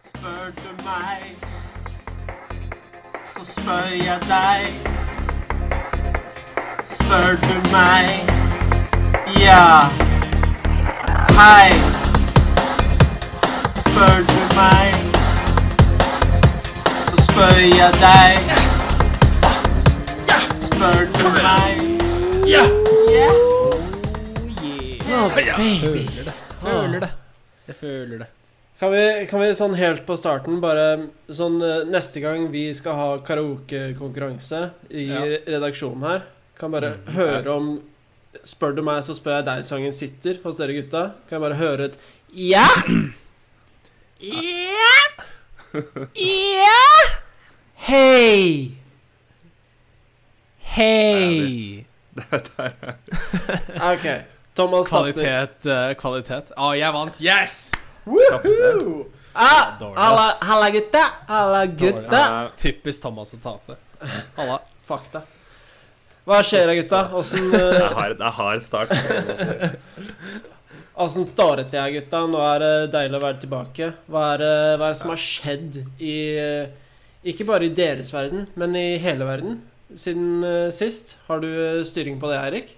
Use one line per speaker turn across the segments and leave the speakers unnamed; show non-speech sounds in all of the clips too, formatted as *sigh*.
Spør du meg, så spør jeg deg. Spør du meg, ja. Hei. Spør du meg, så spør jeg deg. Spør du meg,
Ja!
ja.
Oh, Baby. Føler det. Føler det. Jeg føler det.
Kan vi, kan vi sånn helt på starten bare sånn eh, Neste gang vi skal ha karaokekonkurranse i
Ja. Mm.
redaksjonen her, kan bare høre om Spør du meg, så spør jeg deg-sangen sitter hos dere gutta. Kan jeg bare høre et Ja! Ja! Ja! Hei!
Hei!
ah, OK. Thomas tapte.
Kvalitet. eh, kvalitet. Å, jeg vant. Yes!
Woohoo! Ah,
Dårlig,
Halla,
ass.
halla, gutta! Halla, gutta!
Ja,
Typisk Thomas å tape. Halla.
Fakta. Hva skjer da, gutta? Åssen eh,
Jeg har, jeg har start.
Åssen står det til her, gutta? Nå er det deilig å være tilbake. Hva er, det- hva er det som har skjedd i eh, Ikke bare i deres verden, men i hele verden siden eh, sist? Har du eh, styring på det, Eirik?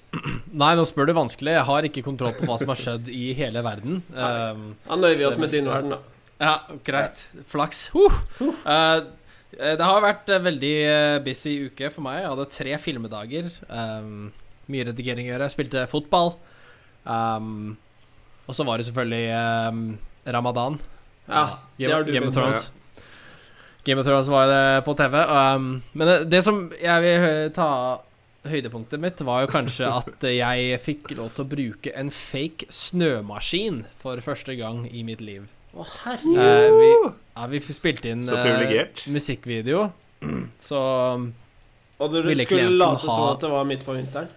Nei, nå spør du vanskelig. Jeg har ikke kontroll på hva som har skjedd i hele verden. Um,
Da nøyer vi oss
Det
med din
meste-
verden, da.
ja, greit. Flaks. Huh. Eh, det har vært en veldig eh, busy uke for meg. Jeg hadde tre filmdager. Um, mye redigering å gjøre. Jeg spilte fotball. Um, og så var det selvfølgelig um, ramadan.
Ja, det
Game,
har du
Game
begynt
of
med.
Thrones. Game of Thrones var det på TV. Um, men det, det som jeg vil hø- ta høydepunktet mitt, var jo
*laughs*
kanskje at jeg fikk lov til å bruke en fake snømaskin for første gang i mitt liv.
Å,
Eh,
herregud.
vi, ja, vi spilte inn
Så
eh,
privilegert.
musikkvideo. Så um,
Og du
Ville
skulle
klienten
late
ha-
som at det var midt på vinteren?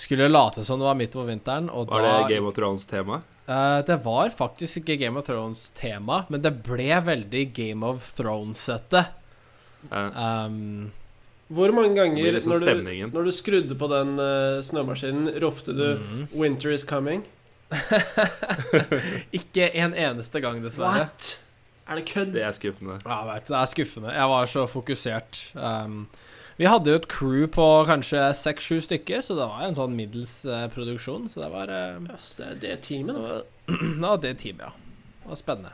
skulle late som det var midt på vinteren. Og
Var
da,
det Game of Thrones-tema?
Eh, det var faktisk ikke Game of Thrones-tema, men det ble veldig Game of Thrones-sette.
Ja.
Um,
Hvor mange
Det blir
ganger
liksom
når du,
stemningen.
når du skrudde på den eh, snømaskinen, ropte du
Mhm.
'Winter is coming'?
*laughs* Ikke en eneste gang, dessverre.
What? Er det kødd?
Det er skuffende.
Ja, jeg vet, det er skuffende. Jeg var så fokusert. Um, vi hadde jo et crew på kanskje seks-sju stykker, så det var en sånn middels eh, produksjon. Så det var, eh, *clears throat*
Jøss, det er det teamet, da.
det var ja, det teamet, ja. Det var spennende.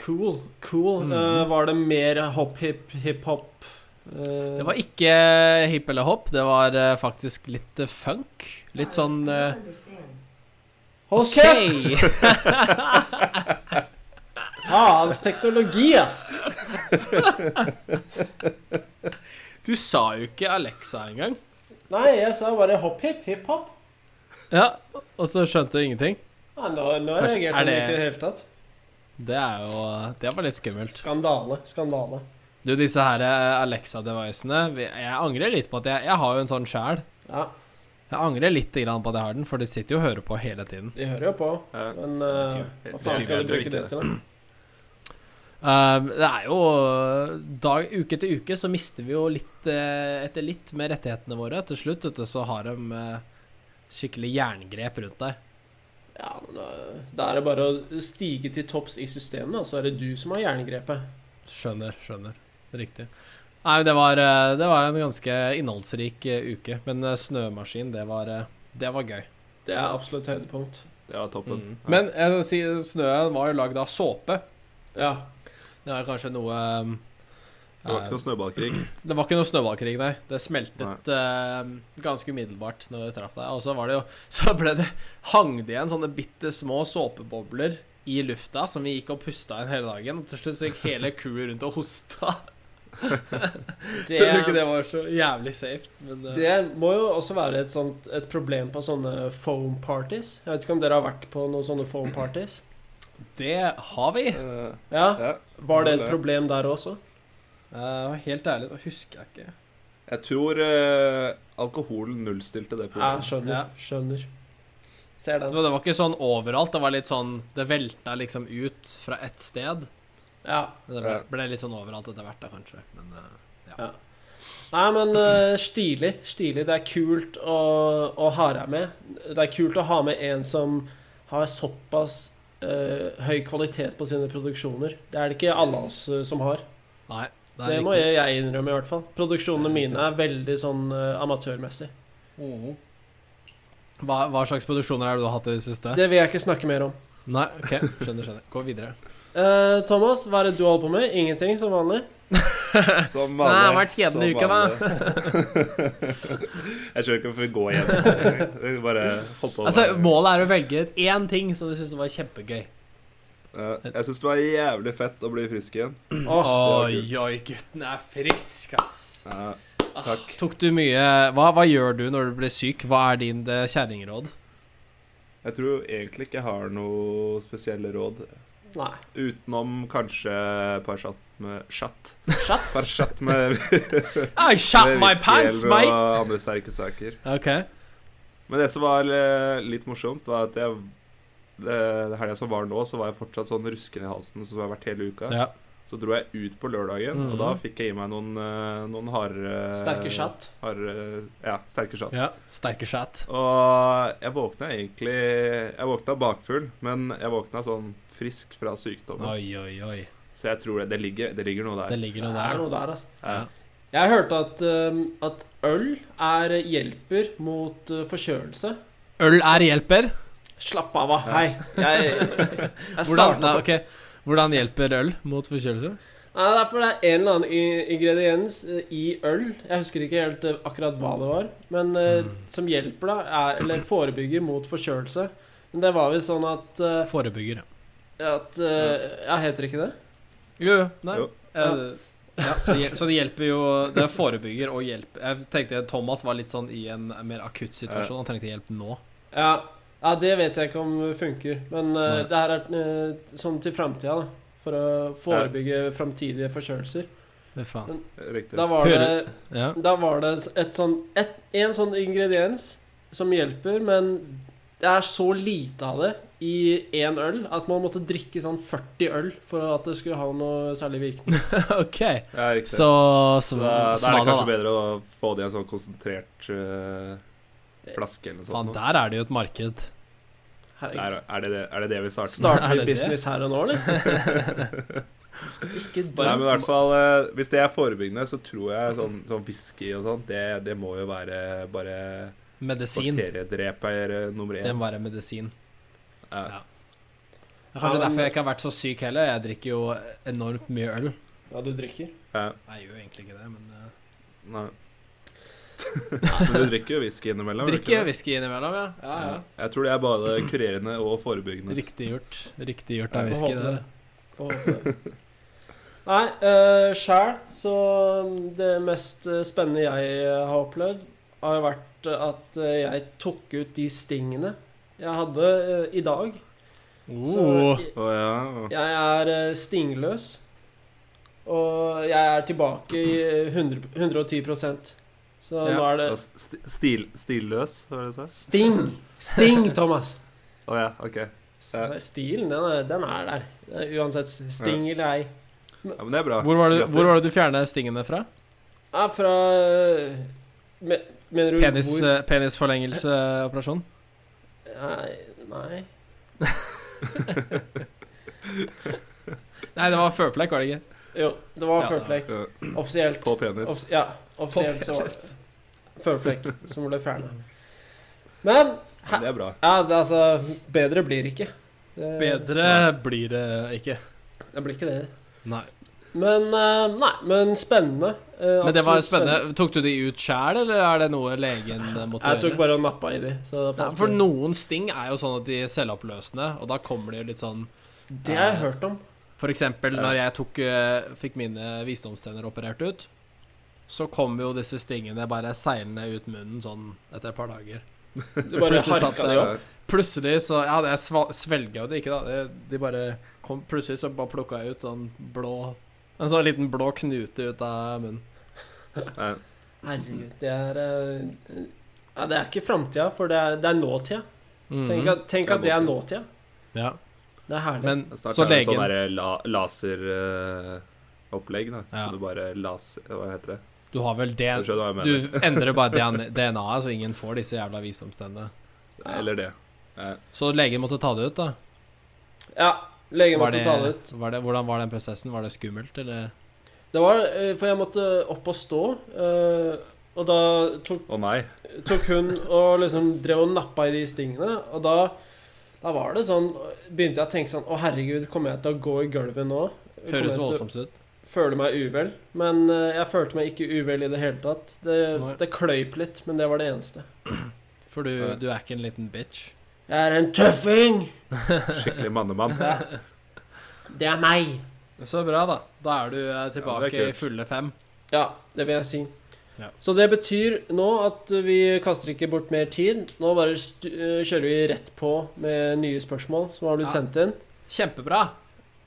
Cool, cool.
Mhm.
Eh, var det mer hopp-hip-hip-hop? Eh,
Det var ikke hip eller hopp, det var eh, faktisk litt eh, funk. Litt sånn eh,
Hold kjeft! Faens ah, teknologi, ass!
*laughs* Du sa jo ikke Alexa engang.
Nei, jeg sa bare hopp-hip-hip-hop.
Ja, og så skjønte du ingenting.
Ja, Ah, nå nå
Kanskje-
reagerte
er
han
det-
ikke i det hele tatt.
Det er jo eh, Det var litt skummelt.
Skandale, skandale.
Du, disse her eh, Alexa-devicene vi- Jeg angrer litt på at jeg, jeg har jo en sånn sjæl.
Ja,
Jeg angrer litt grann på at jeg har den, for de sitter jo og hører på hele tiden.
de hører jo på,
Ja.
men eh,
Det betyr-
hva
det betyr
faen skal du
at du
bruke
ikke-
det til, da?
Um, det er jo dag, Uke etter uke så mister vi jo litt eh, etter litt med rettighetene våre. Til slutt vet du, så har de eh, skikkelig jerngrep rundt deg.
Ja, men eh, Da er det bare å stige til topps i systemet, og så er det du som har jerngrepet.
Skjønner, skjønner. Riktig. Nei, men det var, eh, det var en ganske innholdsrik eh, uke. Men eh, snømaskin, det var, eh, det var gøy.
Det er absolutt høydepunkt.
Det var toppen.
Mm.
Ja.
Men jeg vil si, snøen var jo lagd av såpe.
Ja.
Det er kanskje noe um,
Det var ikke noe
eh, *clears throat*
snøballkrig.
det var ikke noe snøballkrig, nei. Det smeltet
Nei.
eh, ganske umiddelbart når det traff deg. Og så var det jo *laughs* Så ble det hang det igjen sånne bitte små såpebobler i lufta som vi gikk og pusta inn hele dagen. Og til slutt så gikk hele crewet rundt og hosta. *laughs* Så jeg tror ikke det var så jævlig safe, men eh,
Det må jo også være et, sånt, et problem på sånne foam parties. Jeg vet ikke om dere har vært på noen sånne foam parties?
det har vi.
Eh,
Ja,
ja.
Var det et problem der også?
Eh, helt ærlig, da husker jeg ikke.
Jeg tror eh, alkoholen nullstilte det
Ja,
problemet.
Ja.
skjønner. Skjønner. Ser
Det
den.
var, det var ikke sånn overalt. Det var litt sånn Det velta liksom ut fra ett sted.
Ja.
Men det ble,
Ja.
ble litt sånn overalt etter hvert, da, kanskje. Men eh,
Nei, men eh, stilig. Stilig. Det er kult å, å ha deg med. Det er kult å ha med en som har såpass eh, høy kvalitet på sine produksjoner. Det er det ikke alle av oss eh, som har.
Nei,
Det, må jeg, jeg innrømme, i hvert fall. Produksjonene mine er veldig sånn eh, amatørmessig.
Mm-hmm.
Hva, hva slags produksjoner er det du har hatt i det siste?
Det vil jeg ikke snakke mer om.
Nei, ok, skjønner, skjønner. Gå
*laughs*
videre.
Eh, Thomas, hva er det du holder på med? Ingenting, som vanlig.
Som
Nei, det har vært kjedelig
som
uke, da.
vanlig. *laughs* jeg skjønner ikke hvorfor vi
*laughs*
går igjen. Vi Bare holdt på å
Altså,
være-
Målet er å velge én ting som du syns var kjempegøy.
Eh, Jeg syns det var jævlig fett å bli frisk igjen.
Åh,
Oi, oi, gutten er frisk, ass.
Eh,
Takk. Tok du mye hva, hva gjør du når du blir syk? Hva er din eh, kjerringråd?
Jeg tror egentlig ikke jeg har noe spesielle råd.
nei.
Utenom kanskje par chat med Chat?
Chat?
*laughs* Par chat med,
I shot
med
my
whisky
pants,
eller
mate!
og andre sterke saker.
Ok,
Men det som var eh, litt morsomt, var at jeg det helga som var nå, så var jeg fortsatt sånn rusken i halsen som jeg har vært hele uka.
ja.
Så dro jeg ut på lørdagen, og
Mhm.
da fikk jeg i meg noen, eh, noen hardere
Sterke chat.
hardere- ja, sterke chat.
ja. Sterke chat.
Og jeg våkna egentlig Jeg våkna bakfull, men jeg våkna sånn frisk fra sykdommen.
Oi, oi, oi.
Så jeg tror det, det, ligger, det ligger noe der.
Det ligger
Det
noe
er
der.
noe der, altså.
Ja.
Jeg hørte at, ehm, at øl er hjelper mot eh, forkjølelse.
Øl er hjelper.
Slapp av, hva. Hei. Jeg, *laughs* jeg
Hvordan,
startet
nei,
på
ok. Hvordan hjelper øl mot forkjølelse?
Nei, det er fordi det er en eller annen i- ingrediens eh, i øl Jeg husker ikke helt eh, akkurat hva det var. Men eh, som hjelper, da, er, eller forebygger mot forkjølelse. Men det var visst sånn at, eh,
Forebygger.
at eh, Ja, heter det ikke det?
Jo, jo. Nei.
Jo.
Eh, Ja, det hjel- så det hjelper jo Det forebygger og hjelper. Jeg tenkte Thomas var litt sånn i en mer akutt situasjon. Han trengte hjelp nå.
Ja, ja det vet jeg ikke om funker. Men eh,
Nei.
det her er eh, sånn til framtida, da. For å forebygge framtidige forkjølelser.
Hva faen.
Riktig.
Da var det
Hører- Ja.
Da var det et sånn, et, en sånn ingrediens som hjelper, men det er så lite av det i én øl at man måtte drikke sånn 40 øl for at det skulle ha noe særlig virkning.
*laughs* OK.
ja, riktig.
Så
Så
sm
da, da er det
smada,
kanskje
da.
bedre å få det i en sånn konsentrert eh, flaske eller noe
Faen,
sånt. nå.
der er det jo et
*laughs*
marked.
Herregud.
Der, er, det det, er det det vi starter med?
Er
Starter
det
vi
det?
business her og nå, eller?
*laughs*
Ikke
Nei, men i
bare
hvert fall, eh, Hvis det er forebyggende, så tror jeg sånn, sånn whisky og sånt, det, det må jo være bare
Medisin.
bakteriedreper eh, nummer
Det
én.
må være medisin.
Ja.
ja. Det er kanskje
Ja, men-
derfor jeg ikke har vært så syk heller. Jeg drikker jo enormt mye øl.
Ja, du drikker.
Ja.
Jeg gjør jo egentlig ikke det, men uh,
Nei. *laughs* Men du drikker jo whisky innimellom? gjør du ikke
Drikker
det?
whisky innimellom, ja. Ja, ja.
Jeg tror det er både kurerende og forebyggende.
Riktig gjort. Riktig gjort av
Jeg
whisky.
håper
Der.
det. Får håpe det. Nei, uh, sjæl så Det mest eh, spennende jeg eh, har opplevd, har jo vært eh, at eh, jeg tok ut de stingene jeg hadde eh, i dag. Så
Oh.
jeg-
Å ja.
jeg er eh, stingløs. Og jeg er tilbake i eh, 100, 110 Så
Ja, altså.
nå er det
Og st- Stil, stilløs, hva var det du sa?
Sting! Sting, Thomas!
Å ja, ok. Ja.
Nei, Stilen, den er, den er der. Det er Uansett sting eller ei.
Ja, men det er bra.
Hvor, var det,
Grattis.
hvor var det du fjernet stingene fra?
Ja, Ah, fra eh, me- Mener du
Penis,
hvor
eh, penisforlengelseoperasjon?
Nei, nei.
Nei, det var føflekk, var det ikke?
Jo, det var
Ja.
føflekk.
Ja,
Offisielt.
På penis.
Offs ja, offisielt så var det føflekk som ble fjerna. Men
Ja, men det er bra.
ja, det, er altså Bedre blir det ikke. Det,
Bedre blir det ikke.
Det blir ikke det.
Nei.
Men eh, nei, men spennende. Eh,
Men det var
absolutt
spennende. Tok du de ut sjæl, eller er det noe legen eh, måtte
Jeg tok bare og nappa i de. Så det,
Nei,
falt
for
ned.
noen sting er jo sånn at de er selvoppløsende, og da kommer det jo litt sånn
det har jeg hørt om.
For eksempel
Ja.
når jeg tok, eh, fikk mine visdomstenner operert ut, så kom jo disse stingene bare seilende ut munnen sånn etter et par dager.
Du bare
Plutselig satt
harka
det
de opp.
Plutselig så Ja, det sva- svelga jo det ikke, da. Det, de bare kom Plutselig så bare plukka jeg ut sånn blå En sånn liten blå knute ut av munnen.
Nei,
Herregud, det er eh, ja, Det er ikke framtida, for det er, det er nåtida.
Mm-hmm.
Tenk at, tenk
Det er
at det er nåtida.
Ja.
Det er herlig.
Men
Snart
så
er det
legen
sånn derre la, laseropplegg, da.
Ja.
Så du bare laser Hva heter det?
Du har vel
Du
det
skjønner hva jeg
Du
mener.
endrer bare
*laughs*
DNA-et, så ingen får disse jævla visdomstennene.
Eller det.
Så legen måtte ta det ut, da.
Ja, legen
Var
måtte
det,
ta det ut.
var det, hvordan var den prosessen? Var det skummelt, eller?
Det var eh, For jeg måtte opp og stå. eh, Og da tok,
Å nei.
tok hun og liksom drev og nappa i de stingene. Og da, da var det sånn Begynte jeg å tenke sånn Å, herregud, kommer jeg til å gå i gulvet nå? Kommer jeg til
Høres
å
voldsomt ut.
Føle meg uvel. Men eh, jeg følte meg ikke uvel i det hele tatt. Det,
Nei.
det kløyp litt, men det var det eneste.
For du, du er ikke en liten bitch.
Jeg er en tøffing!
Skikkelig mannemann.
*laughs*
Det er meg!
Så bra, da. Da er du eh, tilbake
kult.
i fulle fem.
Ja, det vil jeg si.
Ja.
Så det betyr nå at vi kaster ikke bort mer tid. Nå bare stu øh, kjører vi rett på med nye spørsmål som har blitt
Ja.
sendt inn.
Kjempebra.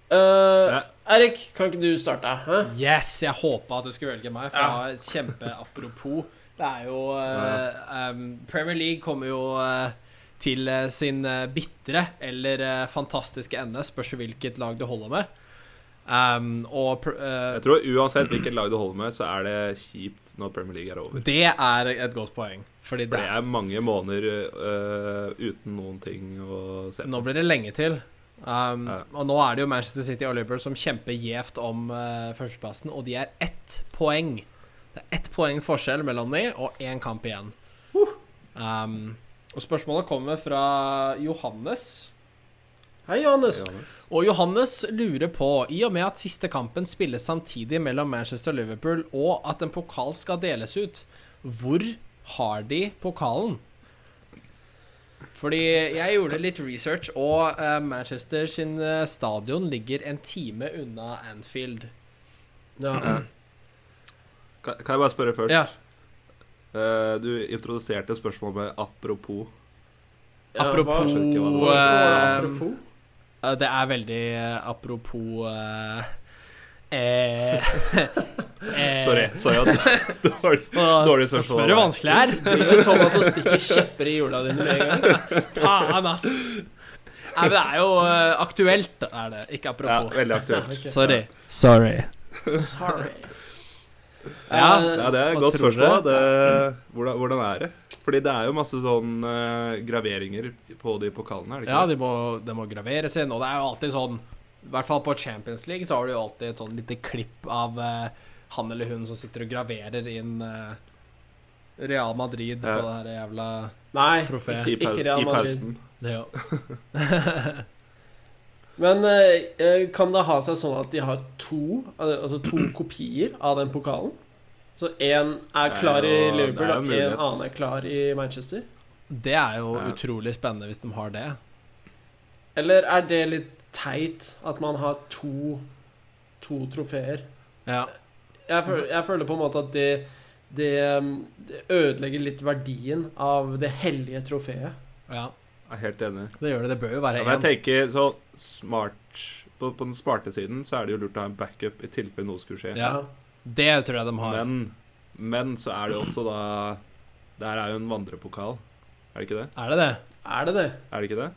Eh,
Ja.
Erik, kan ikke du starte? Hæ?
Yes! Jeg håpa at du skulle velge meg, for
Ja.
jeg har et kjempeapropos. Det er jo eh, em, Premier League kommer jo eh, til eh, sin uh, bitre eller eh, fantastiske ende. Spørs jo hvilket lag du holder med. Em, og pr eh,
Jeg tror uansett hvilket lag du holder med, så er det kjipt når Premier League er over.
det er et godt poeng. Fordi
For
det
det er mange måneder øh, uten noen ting å se
Nå
på.
blir det lenge til. Um,
Ja.
Og nå er det jo Manchester City og Liverpool som kjemper gjevt om eh, førsteplassen, og de er ett poeng. Det er ett poengs forskjell mellom de, og én kamp igjen. Um, og spørsmålet kommer fra Johannes.
Hei, Johannes.
Og Johannes lurer på, i og med at siste kampen spilles samtidig mellom Manchester og Liverpool, og at en pokal skal deles ut, hvor har de pokalen? Fordi jeg gjorde litt research, og eh, Manchester sin eh, stadion ligger en time unna Anfield.
*clears throat*
Ja.
Kan, kan jeg bare spørre først?
Ja,
Eh, du introduserte spørsmålet med 'apropos'.
Ja,
apropos,
skjønner ikke hva det
hva-
eh,
um,
apropos?
eh, Det er veldig eh, apropos eh, eh, *laughs* eh,
Sorry. Sorry
*laughs*
at det var
og-
dårlig
og
spørsmål.
Spør du vanskelig her?
Driver Thomas og stikker kjepper i hjula dine med en gang?
Faen, ass. Nei, men det er jo eh, aktuelt, er det. Ikke
Ja,
apropos.
veldig aktuelt.
Ok.
Sorry. Sorry.
Sorry.
Ja.
Eh,
Ja, det er et
Hva
godt
tror
spørsmål. Det, hvordan, hvordan er det? Fordi det er jo masse sånn eh, graveringer på de pokalene, er det ikke?
Ja, de må, de må graveres inn, og det er jo alltid sånn I hvert fall på Champions League så har du jo alltid et sånn lite klipp av eh, han eller hun som sitter og graverer inn eh, Real Madrid
Ja.
på det her jævla
Nei.
trofeet.
I, pau
Ikke Real
I
Madrid.
pausen.
Det jo.
Men eh, eh, kan det ha seg sånn at de har to al- Altså to
*clears throat*
kopier av den pokalen? Så én er
Det er
klar i
jo- det er
Liverpool,
jo en
og en
mulighet.
annen er klar i Manchester?
Det er jo
Ja.
utrolig spennende hvis de har det.
Eller er det litt teit at man har to To trofeer?
Ja.
Jeg føler, jeg føler på en måte at det det, um, det ødelegger litt verdien av det hellige trofeet.
ja,
Jeg er helt enig.
det gjør det. Det bør
Ja,
jo være
men jeg
én.
tenker så smart på, på den smarte siden så er det jo lurt å ha en backup i tilfelle noe skulle skje.
Ja. Det tror jeg de har.
Men, men så er det jo også da Der er jo en vandrepokal. Er det ikke det?
Er det det?
Er det det?
Er det ikke det?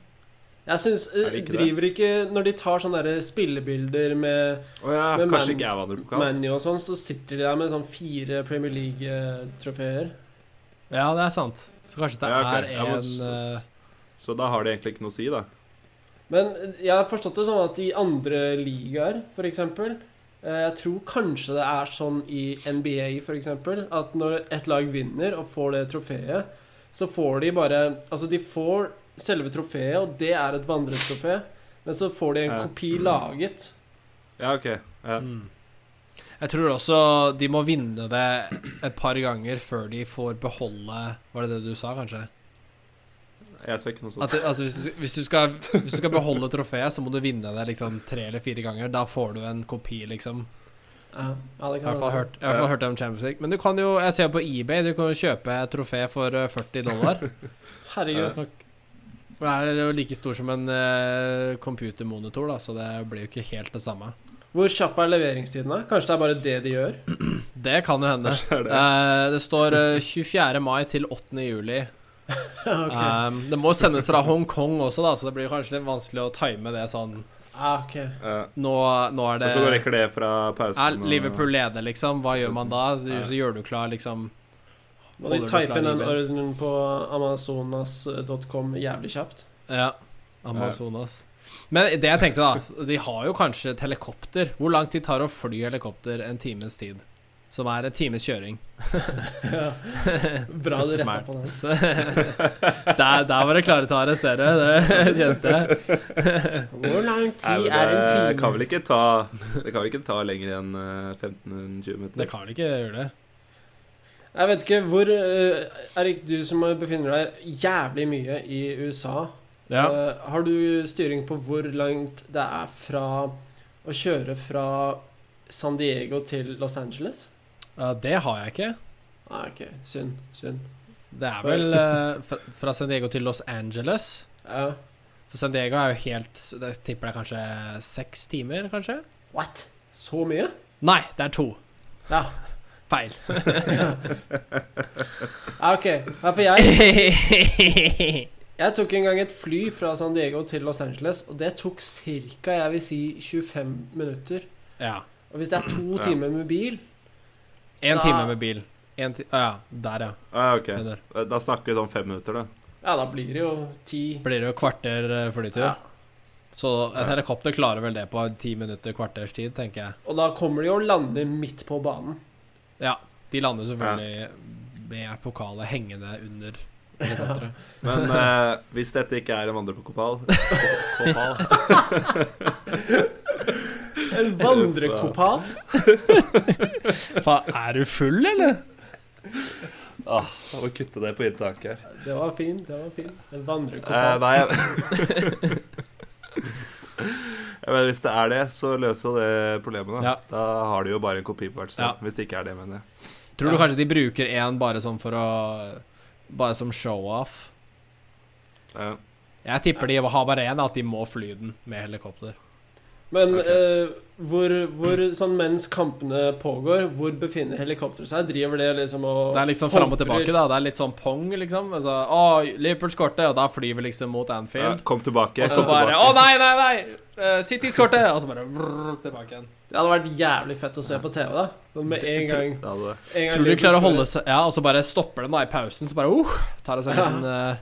Jeg syns
Er det ikke det?
Driver ikke Når de tar sånne der spillebilder med
Å ja,
Men
kanskje
man-
ikke er vandrepokal.
Manu og sånn, så sitter de der med sånn fire Premier eh, League-trofeer.
Ja, det er sant. Så kanskje det
Ja, ok.
er
Ja, men
en
så-
eh,
Så da har det egentlig ikke noe å si, da.
Men jeg har forstått det sånn at i andre ligaer, f.eks. Jeg tror kanskje det er sånn i NBA, f.eks., at når et lag vinner og får det trofeet, så får de bare Altså, de får selve trofeet, og det er et vandretrofé, men så får de en
Ja.
kopi laget.
Ja, OK. Ja.
Mm. Jeg tror også de må vinne det et par ganger før de får beholde Var det det du sa, kanskje?
Jeg ser ikke noe sånt.
At, det-
*laughs*
altså, hvis, du, hvis, du skal, hvis du skal beholde trofeet, så må du vinne det liksom tre eller fire ganger. Da får du en kopi, liksom.
Ja, ja, det
I
kan
hvert fall
være.
hørt, i hvert fall hørt det om Champions League. Men du kan jo Jeg ser jo på eBay, du kan jo kjøpe et trofé for eh, 40 dollar.
Herregud.
Greit nok. Det er jo like stor som en eh, computermonitor, da, så det blir jo ikke helt det samme.
Hvor kjapp er leveringstiden, da? Kanskje det er bare det de gjør?
Det kan jo hende.
Kanskje er det.
Eh, det står eh, 24. mai til 8. juli.
*laughs* ok.
Um, det må sendes fra Hongkong også, da, så det blir kanskje litt vanskelig å time det sånn
Ah, ok.
Ja.
Nå, nå er det
Så du rekker det fra
er
pausen? og- *laughs*
Liverpool leder, liksom. Hva gjør man da? Så,
Ja.
så gjør du klar, liksom
Må de
Holder du
type
klar
inn den *laughs*
i
ordren på amazonas.com jævlig kjapt?
Ja. Amazonas. Men det jeg tenkte, da De har jo kanskje et helikopter. Hvor lang tid tar det å fly helikopter en times tid? Som er en times kjøring.
Ja. *laughs* Bra du retta på den.
Så, *laughs* der, der var det klare til å arrestere. Det *laughs* kjente jeg.
Hvor lang
Nei,
tid
men
er en
det
time?
kan vel ikke ta Det kan vel ikke ta lenger enn eh, 15-20 minutter?
Det kan vel ikke gjøre det?
Jeg vet ikke hvor eh, Erik, du som befinner deg jævlig mye i USA,
Ja.
eh, har du styring på hvor langt det er fra å kjøre fra San Diego til Los Angeles?
ja, det har jeg ikke.
Nei, ok. Synd. Synd.
Det er vel eh, fra- fra San Diego til Los Angeles.
Ja.
For San Diego er jo helt Det tipper jeg kanskje seks timer, kanskje?
What? Så mye? *laughs*
Nei, det er to.
Ja.
*laughs* Feil.
ja ok. Ja, for jeg, jeg tok en gang et fly fra San Diego til Los Angeles, og det tok ca. jeg vil si 25 minutter.
ja.
Og hvis det er to
Ja.
timer med bil
Én
Da-
time med bil. En ti Å ja. Der, ja.
Ah, ok.
Skjønner.
Da snakker vi sånn fem minutter, da.
Ja, da blir det jo ti
Blir det jo kvarter eh, flytur.
Ja.
Så et helikopter klarer vel det på ti minutter, kvarters tid, tenker jeg.
Og da kommer de og lander midt på banen.
Ja. De lander selvfølgelig med pokalet hengende under helikopteret.
*laughs* Men eh, hvis dette ikke er en *laughs* vandrekopal Kopal
*laughs*
En vandrekopal.
Faen, er du full, eller?
ah, Må kutte det på inntaket her.
Det var fin, det var fin. En
Eh,
vandrekopal.
nei jeg... *laughs* jeg mener, Hvis det er det, så løser jo det problemet. Da
Ja.
Da har de jo bare en kopi på hvert sted.
Ja.
Hvis det ikke er det, mener jeg.
Tror du kanskje de bruker én bare sånn for å Bare som show-off?
Ja.
Jeg tipper de har bare én, at de må fly den med helikopter.
Men
Ok.
eh, hvor, hvor sånn mens kampene pågår, hvor befinner helikopteret seg? Driver det liksom og
Det er liksom fram og
hovrer?
tilbake, da. Det er litt sånn pong, liksom. Altså, å, Liverpool skorte, og da flyr vi liksom mot
Ja,
Anfield.
Eh, kom tilbake.
Og så
kom
bare
tilbake.
Å, nei, nei, nei! Eh, City skorte! Og så bare vrrr, tilbake igjen.
Det hadde vært jævlig fett å se på TV, da. Sånn med en gang,
Ja, det.
en gang
Tror du de
Liverpool
klarer å
skårer.
holde seg Ja, og så bare stopper de da i pausen, så bare uh, tar de seg en eh,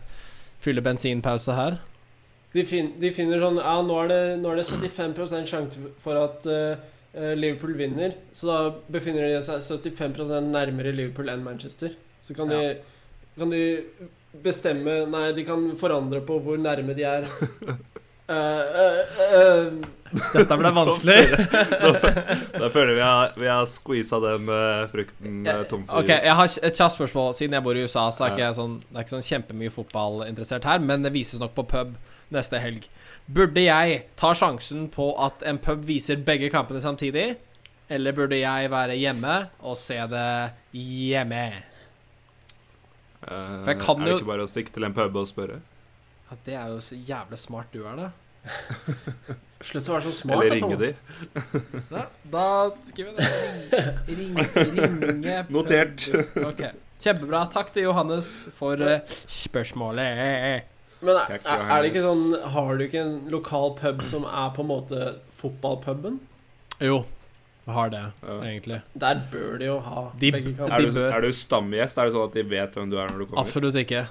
Fyller bensinpause her.
de, fin de finner sånn Ja, nå er det, nå er det 75 sjanse for at eh, eh, Liverpool vinner. Så da befinner de seg 75 nærmere Liverpool enn Manchester. Så kan de, kan de bestemme Nei, de kan forandre på hvor nærme de
*laughs*
er. Eh, eh, eh,
Dette ble vanskelig.
Da føler jeg vi har, vi har squeeza den eh, frukten eh, tom for
Ok,
jus.
jeg har et kjapt spørsmål. Siden jeg bor i USA, så er
Ja.
ikke jeg sånn, det er ikke sånn kjempemye fotballinteressert her, men det vises nok på pub neste helg. Burde jeg ta sjansen på at en pub viser begge kampene samtidig? Eller burde jeg være hjemme og se det hjemme?
Eh,
for jeg kan
er det
jo-
ikke bare å stikke til en pub og spørre?
Ja, det er jo så jævlig smart du er, da.
Slutt å være så smart.
Eller
da,
ringe
Thomas.
de?
Da, da skriver jeg det. Ring, ring, ringe pub.
Notert.
Ok. Kjempebra. Takk til Johannes for eh, spørsmålet.
Men er,
Jeg er ikke
er er det ikke
Johannes.
sånn Har du ikke en lokal pub som er på en måte fotballpuben?
Jo, jeg har det,
Ja.
egentlig.
Der bør de jo ha
De-
begge kamper.
Er du,
bør.
er du stamgjest? Er det sånn at de vet hvem du er når du kommer?
Absolutt ikke.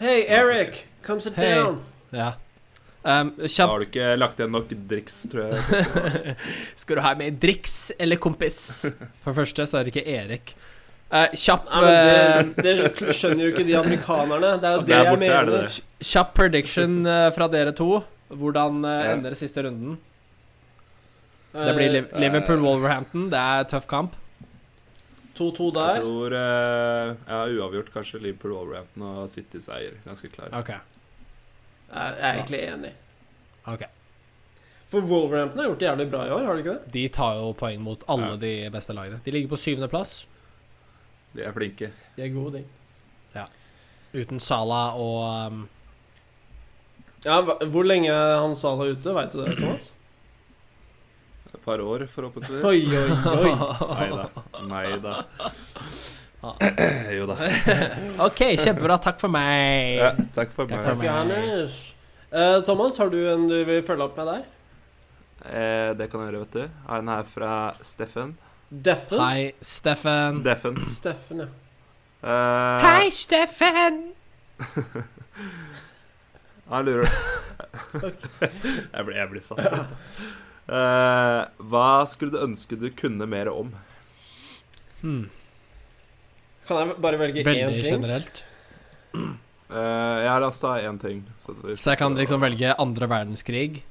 Hei, Eric! Come sit
Hey.
down!
Ja. Um,
Da har
kjapt
du ikke lagt igjen nok driks, tror
*laughs*
jeg.
Skal du ha med driks eller kompis? For det første så er det ikke Erik. Eh, kjapp,
Nei,
eh,
men det, det skjønner jo ikke de amerikanerne. Det er jo
Ok,
det
der
jeg
borte
mener.
er det
eh, kj- kjapp prediction eh, fra dere to. Hvordan eh,
Ja.
ender det siste runden? Det blir Liv- Liverpool-Wolverhampton. Det er tøff kamp.
Eh, 2-2
Jeg
der.
tror eh, ja, uavgjort kanskje Liverpool Wolverhampton og City seier. Ganske klar.
Ok.
Jeg jeg er egentlig enig.
ok
For Wolverhampton har gjort det jævlig bra i år, har de ikke det?
De tar jo poeng mot alle
Ja.
de beste lagene. De ligger på syvendeplass
De er flinke.
De er gode, de.
uten Sala og um,
Ja, hva- hvor lenge er han Sala ute, veit du det, Thomas?
Et par år,
*laughs*
forhåpentligvis.
Oi, oi, oi.
*laughs* Nei da. Nei da. *clears throat* Jo da.
OK, kjempebra. Takk for meg.
Ja, takk for
Takk
meg.
for meg.
Takk, Johannes. Eh, Thomas, har du en du vil følge opp med der?
Eh, det kan jeg gjøre, vet du. Har en her fra Steffen.
Deffen?
Hei, Steffen.
Deffen.
Steffen, ja.
Eh,
Steffen! *laughs*
Han lurer *laughs* Jeg blir, jeg blir satt ut, altså. Eh, hva skulle du ønske du kunne mer om?
Hmm.
Kan jeg bare velge én
Veldig
ting?
generelt.
Eh, jeg har lasta én ting. Så,
Så jeg kan liksom velge andre verdenskrig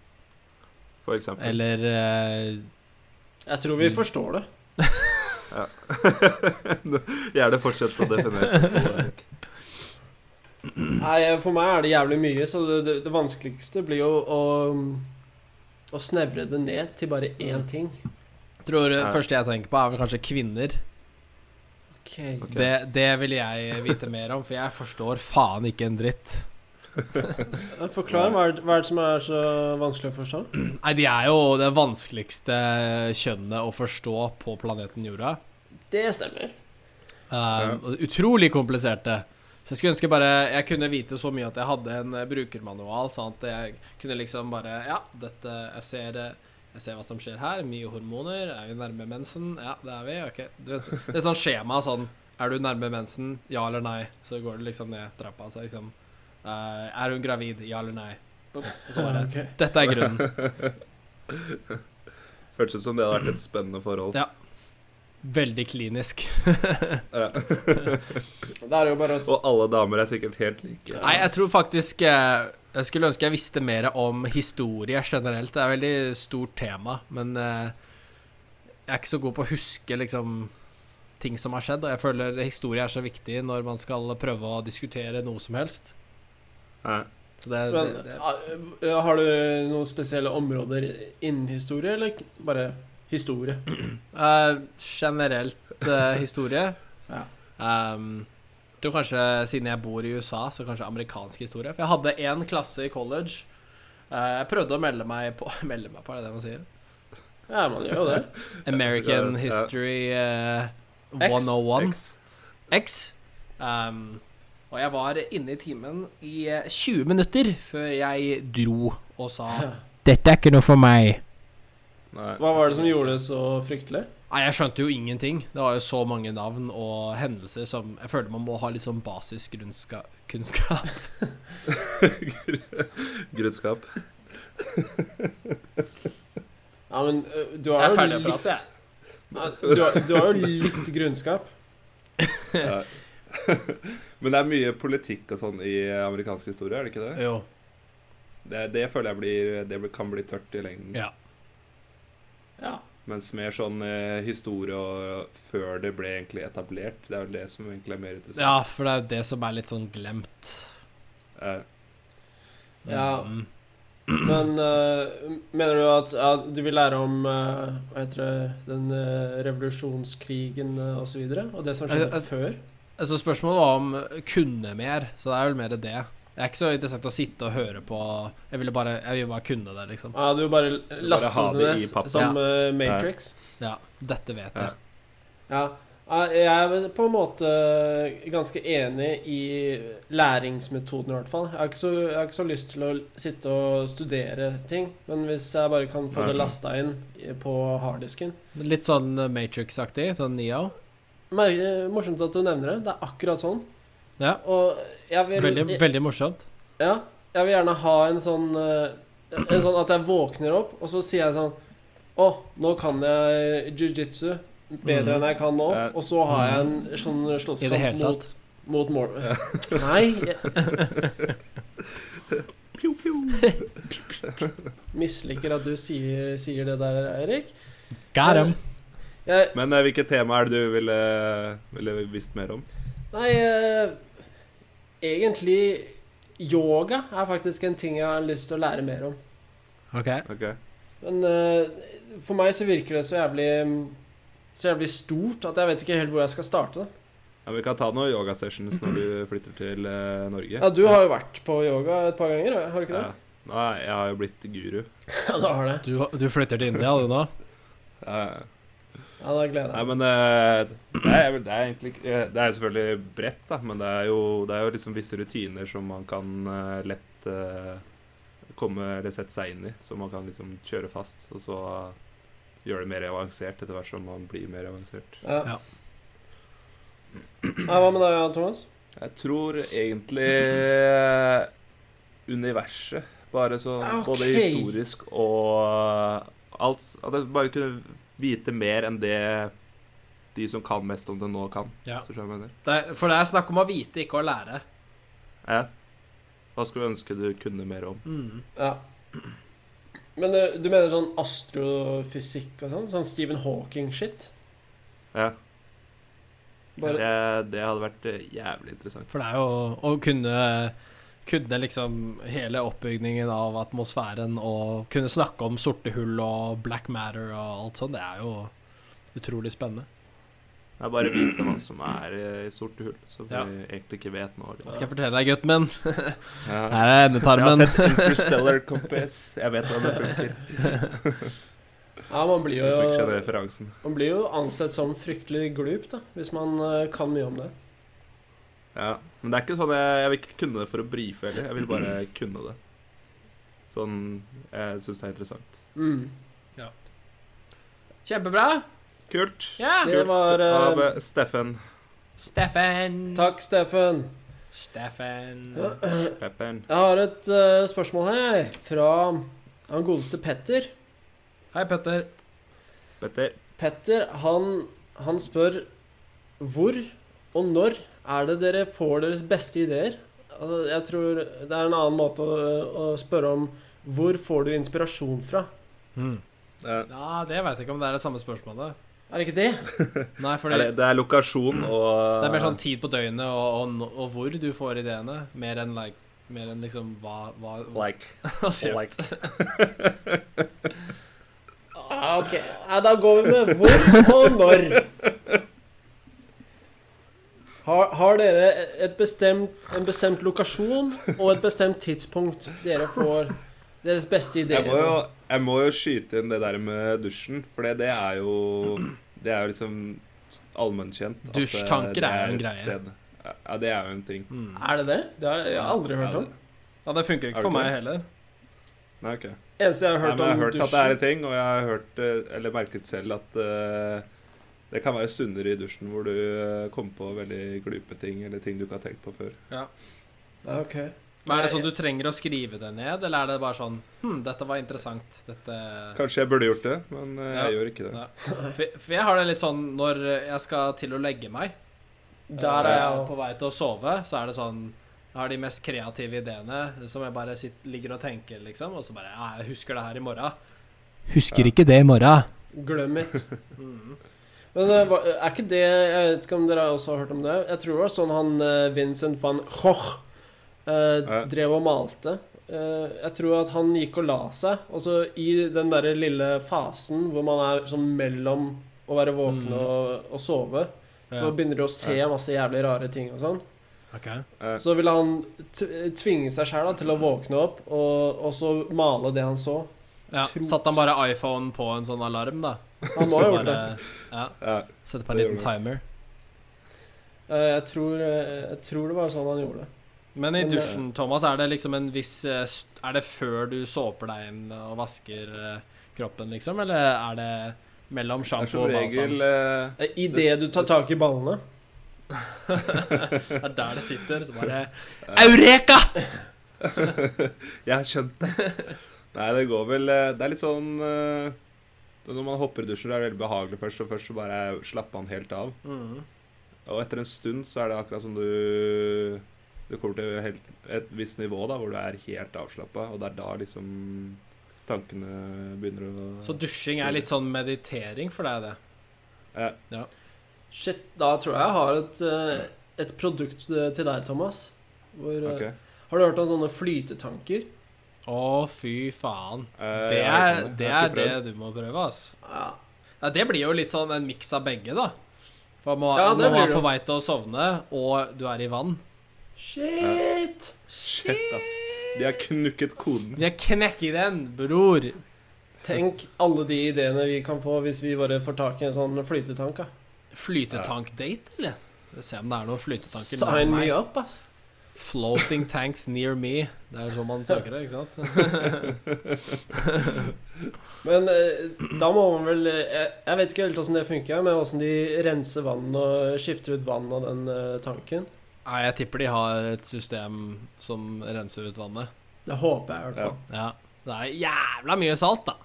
For eksempel. *laughs*
eller eh,
Jeg tror vi forstår det.
Ja. Gjerne fortsett å definere spørsmålet.
Nei, For meg er det jævlig mye, så det, det, det vanskeligste blir jo å, å snevre det ned til bare én ting.
Tror det
Ja.
første jeg tenker på, er vel kanskje kvinner.
Ok.
Ok.
Det, det vil jeg vite mer om, for jeg forstår faen ikke en dritt.
Forklar. Hva er, det- hva er det som er så vanskelig å forstå?
Nei, de er jo det vanskeligste kjønnet å forstå på planeten jorda.
Det stemmer.
Um, og Utrolig kompliserte. Så jeg skulle ønske bare jeg kunne vite så mye at jeg hadde en eh, brukermanual, sånn at jeg kunne liksom bare Ja, dette Jeg ser, eh, jeg ser hva som skjer her. Mye hormoner. Er vi nærme mensen? Ja, det er vi. Ok. Du vet, det er sånn skjema sånn Er du nærme mensen? Ja eller nei? Så går det liksom ned trappa. Så liksom eh, Er hun gravid? Ja eller nei? Og så bare
Ok.
Dette er grunnen.
Hørtes ut som det hadde vært et spennende forhold.
Ja. Veldig klinisk. *laughs*
Ja. *laughs*
Det er jo bare å
Og alle damer er sikkert helt like.
Nei, jeg tror faktisk eh, Jeg skulle ønske jeg visste mer om historie generelt. Det er et veldig stort tema, men eh, jeg er ikke så god på å huske liksom ting som har skjedd. Og jeg føler historie er så viktig når man skal prøve å diskutere noe som helst.
Ja.
Så det, det,
Men
det
eh, har du noen spesielle områder innen historie, eller bare historie?
Eh, generelt eh, historie.
*laughs* Ja.
Ehm, jeg tror kanskje siden jeg bor i USA, så kanskje amerikansk historie. For jeg hadde én klasse i college. Eh, jeg prøvde å melde meg på *laughs* Melde meg på, er det det man sier?
Ja, man gjør jo det.
American
Ja.
History eh,
X.
101. X.
X.
Ehm, og jeg var inne i timen i eh, 20 minutter før jeg dro og sa *laughs* Dette er ikke noe for meg.
Nei. *laughs*
Hva var det som gjorde det så fryktelig?
Nei, jeg skjønte jo ingenting. Det var jo så mange navn og hendelser som Jeg føler man må ha litt sånn basiskunnskap.
Grunnskap.
Ja, men eh, du
Jeg
har
er
jo
ferdig å
litt
prate, jeg.
Ja, du, har, du har jo litt grunnskap.
Ja. Men det er mye politikk og sånn i amerikansk historie, er det ikke det?
*laughs* Jo.
Det, det føler jeg blir, det blir- kan bli tørt i lengden.
Ja.
Ja.
Mens mer sånn eh, historie og før det ble egentlig etablert, det er vel det som egentlig er mer
ja,
interessant.
for det er jo det som er litt sånn glemt.
Eh,
Ja.
Mm.
Men eh, mener du at ja, du vil lære om eh, hva heter det, den eh, revolusjonskrigen eh, og så videre? Og det som
Eh, eh,
skjedde før?
Altså, spørsmålet var om kunne mer, så det er vel mer det. Jeg er ikke så interessert i å sitte og høre på Jeg ville bare, jeg ville bare kunne det, liksom.
Ja, du bare laster
ha
det
det
ned
i pappa.
s- som eh, Matrix?
Ja. Dette vet jeg.
Ja. Ja, Jeg er vel på en måte ganske enig i læringsmetoden, i hvert fall. Jeg har ikke så, jeg har ikke så lyst til å sitte og studere ting, men hvis jeg bare kan få
Nei.
det lasta inn i- på harddisken
Litt sånn eh, Matrix-aktig. Sånn Neo.
Mer- eh, Morsomt at du nevner det. Det er akkurat sånn.
Ja.
Og jeg vil
Veldig, veldig morsomt.
Ja, jeg vil gjerne ha en sånn eh, En sånn at jeg våkner opp, og så sier jeg sånn Å, nå kan jeg jiu-jitsu bedre
Mm.
enn jeg kan nå.
Ja.
Og så har jeg en sånn
I det hele
slåsskamp mot,
tatt.
mot Mor... *laughs* Nei. Jeg... *laughs* Misliker at du sier, sier det der, Eirik.
Got 'em.
Jeg,
Men eh, hvilket tema er det du ville, ville visst mer om?
Nei, eh, egentlig Yoga er faktisk en ting jeg har lyst til å lære mer om.
Ok.
Ok.
Men eh, for meg så virker det så jævlig Så jævlig stort at jeg vet ikke helt hvor jeg skal starte. Da.
Ja, men vi kan ta noen yogasessions når du flytter til eh, Norge.
Ja, Du har jo vært på yoga et par ganger, har du ikke det?
Ja. *laughs* Nei, jeg har jo blitt guru.
Ja, du har det.
Du, du flytter til India, du nå?
Ja, ja.
Ja, da gleder
Nei,
jeg meg.
men eh, det er, vel- det er egentlig ikke- eh, Det er jo selvfølgelig bredt, da, men det er jo, det er jo liksom visse rutiner som man kan eh, lett eh, komme eller sette seg inn i, så man kan liksom kjøre fast, og så gjøre det mer avansert etter hvert som man blir mer avansert.
Ja.
Ja.
Nei, hva med deg, Thomas?
Jeg tror egentlig eh, universet Bare så Både
Ok.
historisk og eh, alt. At jeg bare kunne vite mer enn det de som kan mest om det nå, kan.
Ja.
Hvis du skjønner hva jeg mener.
Det er, for det er snakk om å vite, ikke å lære.
Ja. Hva skulle du ønske du kunne mer om?
Mm.
Ja. Men eh, du mener sånn astrofysikk og sånn? Sånn Stephen Hawking-shit?
Ja. Det,
Bare
det hadde vært eh, jævlig interessant.
For det er jo å kunne kunne liksom hele oppbygningen av atmosfæren og kunne snakke om sorte hull og black matter og alt sånt, det er jo utrolig spennende.
Det er bare å vite hva som er eh, i sorte hull, som
Ja.
vi egentlig ikke vet nå. liksom.
Skal jeg fortelle deg, gutten min?
Ja.
Her er endetarmen.
Jeg har sett Interstellar Compass. Jeg vet hvordan det funker.
Ja, man blir
Jeg som ikke skjønner
jo
referansen.
Man blir jo ansett som fryktelig glup, da, hvis man eh, kan mye om det.
Ja. Men det er ikke sånn jeg, jeg vil ikke kunne det for å brife heller. Jeg vil bare kunne det. Sånn Jeg syns det er interessant.
Mm.
Kjempebra.
Kult.
Ja.
Det
Kult.
var, eh,
Av eh, Steffen
Steffen.
Takk, Steffen.
Steffen.
Pepperen.
Jeg har et eh, spørsmål her, jeg, fra han godeste Petter.
Hei, Petter.
Petter.
Petter, han, han spør hvor og når er det dere får deres beste ideer? Altså, Jeg tror det er en annen måte å, å spørre om hvor får du inspirasjon fra?
Hmm.
Ja.
Ja, det veit jeg ikke om det er det samme spørsmålet.
Er det ikke det?
Nei, fordi
Eller, det er lokasjon og
Det er mer sånn tid på døgnet og, og, nå- og hvor du får ideene, mer enn, like, mer enn liksom hva, hva
eh, like.
Altså,
like.
Ah, ok, ja, da går vi med hvor og når. Har, har dere et bestemt, en bestemt lokasjon og et bestemt tidspunkt dere får deres beste ideer
Jeg må, jo,
på?
jeg må jo skyte inn det der med dusjen, for det, det er jo Det er jo liksom allmennkjent. at det-
Dusjtanker
det
er jo en
et
greie.
sted. Ja, det er jo en ting.
mm.
Er det det? Det har jeg aldri hørt
Ja,
om.
det-
Ja, det funker
Er
ikke
det
for meg
det?
heller.
Nei, ok.
Eneste jeg har
Nei,
hørt
men jeg
om
har hørt at det er
dusjen
en ting, og jeg har hørt, eh, eller merket selv at eh, det kan være stunder i dusjen hvor du eh, kommer på veldig glupe ting, eller ting du ikke har tenkt på før.
Ja, Ok.
Men Er det sånn du trenger å skrive det ned, eller er det bare sånn Hm, dette var interessant. Dette
Kanskje jeg burde gjort det, men eh, jeg
Ja.
gjør ikke det.
Nei. For for jeg har det litt sånn når jeg skal til å legge meg,
Der er jeg
eh, på
òg.
vei til å sove, så er det sånn jeg har de mest kreative ideene som jeg bare sitter, ligger og tenker, liksom. Og så bare Ja, jeg husker det her i morgen. Husker ikke det i morgen.
Glem it.
Mhm.
Men eh, hva- er ikke det Jeg vet ikke om dere også har hørt om det. Jeg tror det var sånn han eh, Vincent van Gogh eh,
Ja.
drev og malte. Eh, jeg tror at han gikk og la seg, og så i den derre lille fasen hvor man er sånn mellom å være våken
Mm.
og, og sove, så
Ja.
begynner du å se masse jævlig rare ting og sånn.
ok.
Eh,
Så ville han t tvinge seg sjæl til å våkne opp og, og så male det han så.
Ja,
Tro-
Satte han bare iPhone på en sånn alarm, da?
Han må ha gjort det.
Ja,
ja.
Sette på en
Det gjorde
liten timer.
Eh, Jeg tror, eh, jeg tror det var sånn han gjorde det.
Men i
Men, eh,
dusjen, Thomas, er det liksom en viss eh, st- Er det før du såper deg inn og vasker eh, kroppen, liksom? Eller er det mellom
Det er
sjampo
som
og balsam?
regel *laughs* eh,
Eh, I det du tar tak i ballene.
Det er der det sitter. Så bare
Ja.
Eureka!
Jeg har skjønt
*laughs*
det. Nei, det går vel eh, Det er litt sånn eh, Når man hopper i dusjen, det er det veldig behagelig først, og først så bare slapper man helt av.
Mm.
Og etter en stund så er det akkurat som du Du kommer til helt, et visst nivå da, hvor du er helt avslappa, og det er da liksom tankene begynner å
Så dusjing er litt sånn meditering for deg, det?
Ja.
Shit, da tror jeg jeg har et, eh, et produkt eh, til deg, Thomas. Hvor, eh,
Ok.
Har du hørt om sånne flytetanker?
Å, fy faen.
Eh,
Det
jeg har
er
ikke noe.
det,
Jeg har
er
ikke
det
prøvd.
du må prøve, ass.
Ja.
Ja, det blir jo litt sånn en miks av begge, da. For man,
Ja, det
man
blir
er
det.
på vei til å sovne, og du er i vann.
Shit!
Shit, ass. De har knukket koden.
Vi har knekket den, bror.
Tenk alle de ideene vi kan få hvis vi bare får tak i en sånn flytetank. da.
Flytetankdate, eller? Vi får Se om det er noen flytetanker
Sign
meg.
me up, ass.
Floating tanks near me. Det er sånn man søker det, ikke sant?
*laughs* Men eh, da må man vel eh, Jeg, jeg vet ikke helt åssen det funker, men åssen de renser vann og skifter ut vann av den eh, tanken.
Nei, jeg tipper de har et system som renser ut vannet.
Det håper jeg i hvert fall.
Ja. Det er jævla mye salt, da.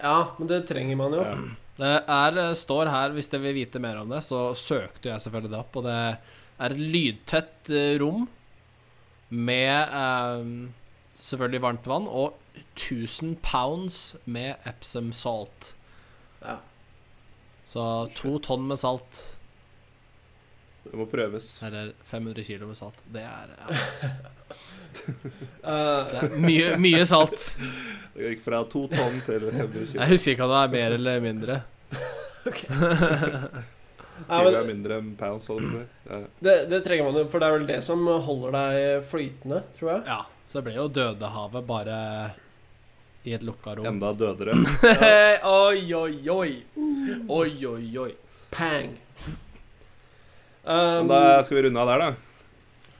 Ja. men det trenger man jo.
Ja.
Det er, eh, står her, hvis dere vil vite mer om det, så søkte jeg selvfølgelig det opp, og det er et lydtett eh, rom med eh, selvfølgelig varmt vann og 1000 pounds med Epsom salt.
Ja.
Så to tonn med salt,
Det må prøves.
eller 500 kilo med salt, det er, ja,
Eh,
det er mye, mye salt.
Det gikk fra to tonn
*laughs*
til 100 kilo.
Jeg husker ikke om det er mer eller mindre.
ja,
Kilo er
men
mindre enn pounds. holdt jeg på å si.
det, det trenger man jo, for det er vel det som holder deg flytende, tror jeg.
Ja, så det ble jo Dødehavet bare i et
Ja.
lukka rom.
Enda dødere.
oi, oi, oi. Oi, oi, oi.
Pang!
Men
Um,
da skal vi runde av der, da.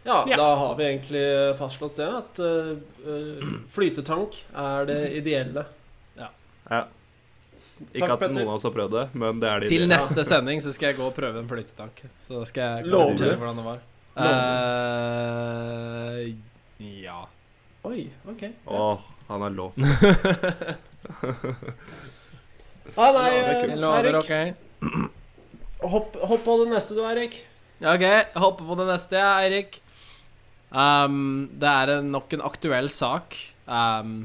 ja,
Ja.
da har vi egentlig fastslått det, at eh, eh, flytetank er det ideelle.
Ja. Ikke
Takk,
at
Petter.
noen av oss har prøvd det, men det er det.
Til
ideelle.
neste sending så skal jeg gå og prøve en flytetank. Så skal jeg
Lover
fortelle
du?
hvordan det var. Eh, ja.
Oi, ok.
Å, han har lov.
Ah, nei,
Ja, det er
eh,
kult.
Jeg lover,
Erik.
OK?
Hopp, hopp på det neste du, Erik.
Ja, OK, jeg hopper på det neste, ja, Eirik. Um, det er en, nok en aktuell sak. Um,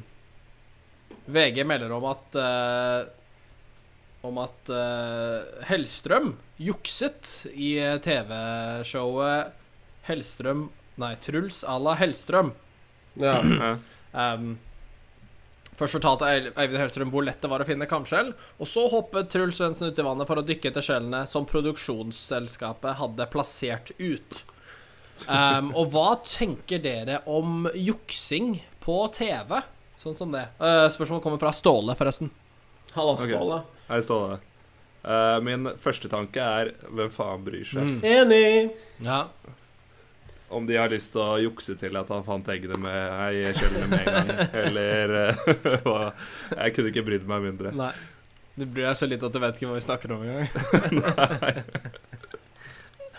VG melder om at eh, Om at eh, Hellstrøm jukset i eh, TV-showet Hellstrøm Nei, Truls à la Hellstrøm.
Ja.
Ja.
Um, først fortalte Eil- Eivind Hellstrøm hvor lett det var å finne kamskjell, og så hoppet Truls Svendsen ut i vannet for å dykke etter skjellene som produksjonsselskapet hadde plassert ut. Um, og hva tenker dere om juksing på TV? Sånn som det. Uh, spørsmålet kommer fra Ståle, forresten.
Halla,
Ok.
Ståle.
Her står det. Eh, min første tanke er hvem faen bryr seg?
Mm. Enig.
Ja.
Om de har lyst til å jukse til at han fant eggene med ei kjølene med en gang,
*laughs*
eller eh, *laughs* hva. Jeg kunne ikke brydd meg *laughs* mindre.
Nei. Du bryr deg så litt at du vet ikke hva vi snakker om engang.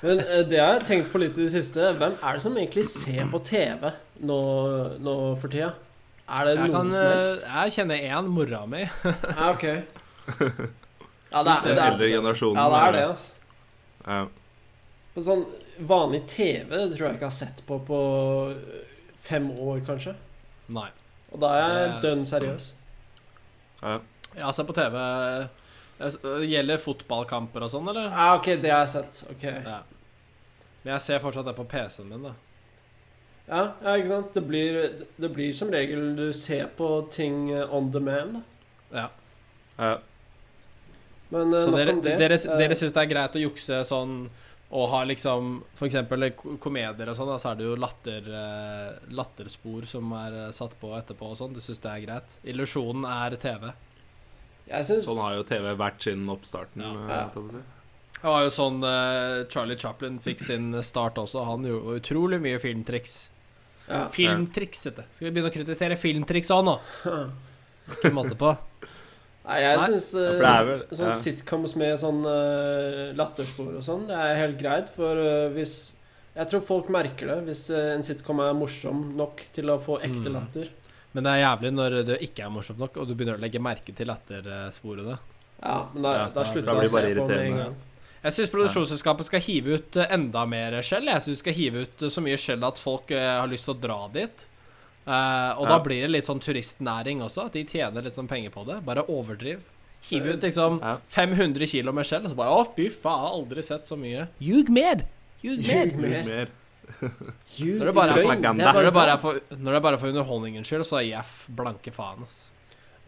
Men eh, det har jeg tenkt på litt i det siste. Hvem er det som egentlig ser på TV nå, nå for tida? Er det
Jeg,
noen
kan,
som helst?
eh, jeg kjenner én, mora mi.
Ja, ok. Ja, det er
Den
det.
eldre
Er,
generasjonen.
ja, det er det, altså.
Ja.
For sånn vanlig TV det tror jeg ikke jeg har sett på på eh, fem år, kanskje.
Nei.
Og da er jeg
Det
dønn seriøs.
Ja.
Jeg har sett på TV eh, s- Gjelder fotballkamper og sånn, eller?
Ja, ok, det har jeg sett. Ok.
Ja. Men jeg ser fortsatt det på PC-en min, da.
Ja, ja ikke sant. Det blir, det blir som regel du ser på ting eh, on demand. da.
Ja.
Ja.
Men eh,
Så
nok
dere,
om det.
dere,
Eh,
dere syns det er greit å jukse sånn og ha liksom f.eks. komedier og sånn, da, så er det jo latter, eh, latterspor som er eh, satt på etterpå og sånn. Du syns det er greit? Illusjonen er TV.
jeg syns
Sånn har jo TV vært siden oppstarten.
Ja.
eh, holdt jeg på å si.
Det var jo sånn eh, Charlie Chaplin fikk sin start også. Han gjorde utrolig mye filmtriks.
ja.
Filmtriksete. Skal vi begynne å kritisere filmtriks òg nå?
*laughs*
Ikke måte på.
Nei, jeg
Nei.
syns
Ja, for det er vel-
sånn
ja.
sitcoms med sånn eh, latterspor og sånn, det er helt greit, for eh, hvis Jeg tror folk merker det hvis eh, en sitcom er morsom nok til å få ekte
Mm.
latter.
Men det er jævlig når du ikke er morsom nok, og du begynner å legge merke til eh, lattersporene.
Ja, men da,
Ja,
da
da
slutter jeg å
blir det
se på
bare
med en
irriterende.
gang.
Jeg syns produksjonsselskapet skal hive ut eh, enda mer skjell. Jeg syns de skal hive ut eh, så mye skjell at folk eh, har lyst til å dra dit. Eh, og da
Ja.
blir det litt sånn turistnæring også. At de tjener litt sånn penger på det. Bare overdriv. Hiv ut liksom
Ja.
500 kilo med skjell, og så bare Å, fy faen, aldri sett så mye. Ljug mer! Ljug mer!
Ljug mer.
Mer.
Ljug
Når det bare er
løgn,
propaganda.
det er
Når det bare
bra.
er for, når det bare er for underholdningens skyld, så er jeg f blanke faen, altså.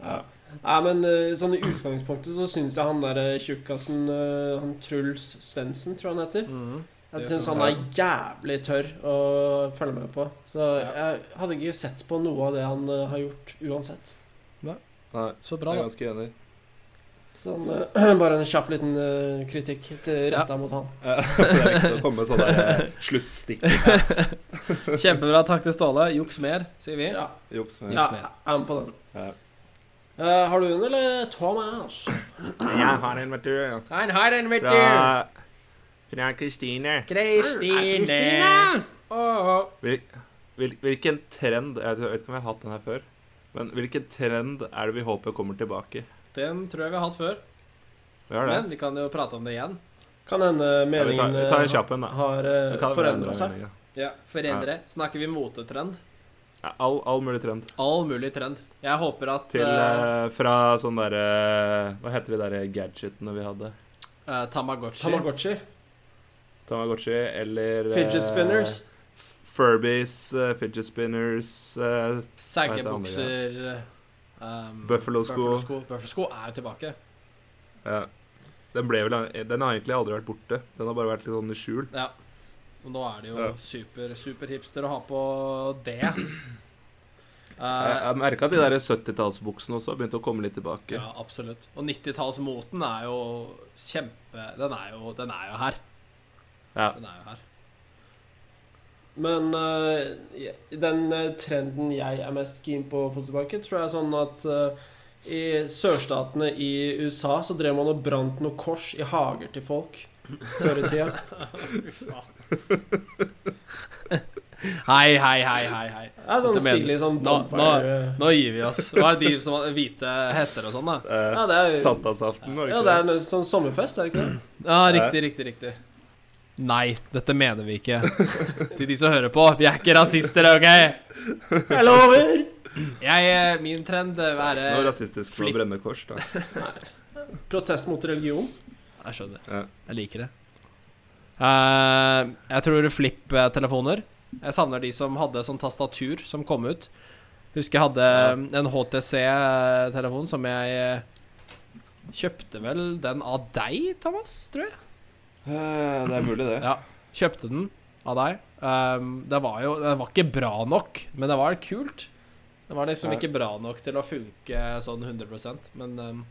Ja. Nei, men eh, sånn i utgangspunktet så syns jeg han der eh, tjukkasen eh, Han Truls Svendsen, tror jeg han heter.
Mhm.
Jeg
Det
syns
kan
han er jævlig tørr å følge med på. Så
Ja.
jeg hadde ikke sett på noe av det han eh, har gjort, uansett.
Nei,
Så bra,
jeg er
da.
ganske enig. *laughs*
Sånn, eh, *clears throat* bare en kjapp liten eh, kritikk til
Ja.
retta mot han.
Ja, det er viktig å komme med
*laughs*
sånne eh, sluttstikk.
*laughs* Kjempebra. Takk til Ståle. Juks mer, sier vi.
Ja,
Juks.
ja
men-
Juks
jeg
mer.
er med på den.
Ja.
Eh, har du en, eller Thomas?
Jeg har en, vet du. ja.
Ein har en
Fra, fra Kristine.
Kristine.
Kristine!
Åh.
Vi, Hvil, hvilken trend Jeg vet ikke om jeg har hatt den her før. Men hvilken trend er det vi håper kommer tilbake?
Den tror jeg vi har hatt før,
Vi har det.
men vi kan jo prate om det igjen.
Kan hende
Ja, vi tar,
meningen
vi tar en kjapp en,
eh,
da.
har
Vi kan
forandra
endre
seg.
meningen.
Ja, Forendre. Snakker vi motetrend?
Ja, all, all mulig trend.
All mulig trend. Jeg håper at
Til,
eh,
eh, fra sånn derre Hva heter de derre gadgetene vi hadde?
eh, Tamagotchi
Tamagotchi.
Tamagotchi eller eh,
Fidget spinners.
F- Furbies, eh, fidget spinners eh,
Saggebukser um,
Buffalo-sko.
Buffalo-sko Buffalo-sko er jo tilbake.
ja. den, ble vel, den har egentlig aldri vært borte. Den har bare vært litt sånn i skjul.
Ja. Og nå er det jo
Ja.
super, super hipster å ha på
*clears throat*
det.
Jeg,
Eh,
jeg merka at de der 70-tallsbuksene også har begynt å komme litt tilbake.
ja, absolutt. Og 90-tallsmoten er jo kjempe Den er jo, den er jo her.
Ja.
Den er jo her.
Men eh, je- den eh, trenden jeg er mest keen på å få tilbake, tror jeg er sånn at eh, i sørstatene i USA så drev man og brant noe kors i hager til folk før i tida.
*laughs* Hei, hei, hei, hei. hei.
Det er sånn
Dette mener-
stilig sånn
Nå- nå-
bonfire
Nå gir vi oss. Hva er de som har hvite hetter og sånn, da?
Eh,
Ja, det er,
Sankthansaften, var det
ja,
ikke
det er en sånn sommerfest, er det ikke
Mm.
det?
Ja, riktig, riktig, riktig. Nei, dette mener vi ikke. Til de som hører på, vi er ikke rasister, OK?
Jeg lover!
Jeg, eh, min trend eh, er
Noe
eh,
rasistisk med
flip.
å brenne kors, da.
Protest mot religion.
Jeg skjønner.
Ja.
Jeg liker det. Eh, jeg tror flipp-telefoner. Jeg savner de som hadde sånn tastatur som kom ut. Husker jeg hadde eh, en HTC-telefon som jeg eh, kjøpte vel den av deg, Thomas, tror jeg.
det er mulig, det.
Ja. Kjøpte den av deg. Um, det var jo Den var ikke bra nok, men det var kult. Det var liksom
Ja.
ikke bra nok til å funke sånn 100 men um,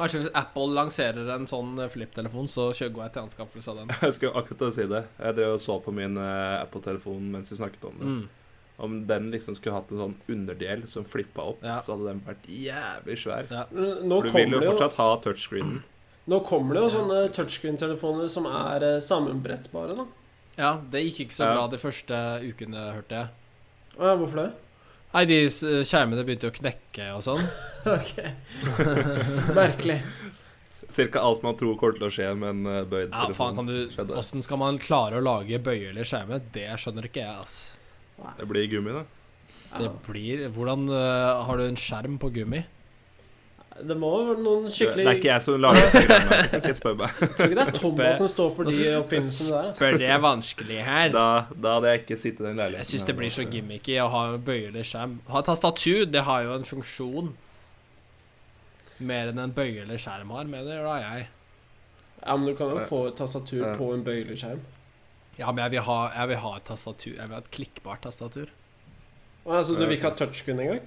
kanskje hvis Apple lanserer en sånn flip-telefon, så kjører jeg til anskaffelse av den.
*laughs* Jeg skulle akkurat til å si det. Jeg drev og så på min eh, Apple-telefon mens vi snakket om det.
Mm.
Om den liksom skulle hatt en sånn underdel som flippa opp,
Ja.
så hadde den vært jævlig svær.
Nå
For du vil
kommer
jo
det jo,
fortsatt ha touchscreenen.
nå kommer det jo
Ja.
sånne touchscreen-telefoner som er eh, sammenbrettbare, da.
Ja, det gikk ikke så
Ja.
bra de første ukene, hørte jeg.
Å ja, hvorfor det? *laughs*
Nei, de s- eh, skjermene begynte å knekke og sånn.
*laughs*
Ok. Merkelig.
Cirka alt man tror kommer til å skje med en eh, bøyd
Ja, faen,
telefon.
kan du
Skjedde.
Åssen skal man klare å lage bøyelige skjermer? Det skjønner ikke jeg, ass.
Det blir gummi, da.
Det blir Hvordan øh, har du en skjerm på gummi?
Det må være noen
Det
skikkelig
er ikke jeg som lager disse greiene. her. Ikke spør meg.
Jeg tror ikke det er Thomas som står for de
Spør-
oppfinnelsene der. Altså.
Bør det er vanskelig her?
Da, da hadde jeg ikke sittet i den leiligheten.
Jeg syns det
her.
blir så gimmicky å ha bøyelig skjerm. Ha tastatur, det har jo en funksjon. Mer enn en bøyelig skjerm har, mener da jeg.
Ja, men du kan jo få et tastatur
Ja.
på en bøyelig skjerm.
Ja, men jeg vil ha, jeg vil ha et tastatur. Jeg vil ha et klikkbart tastatur.
Å, Altså, du vil ikke ha touchscreen engang?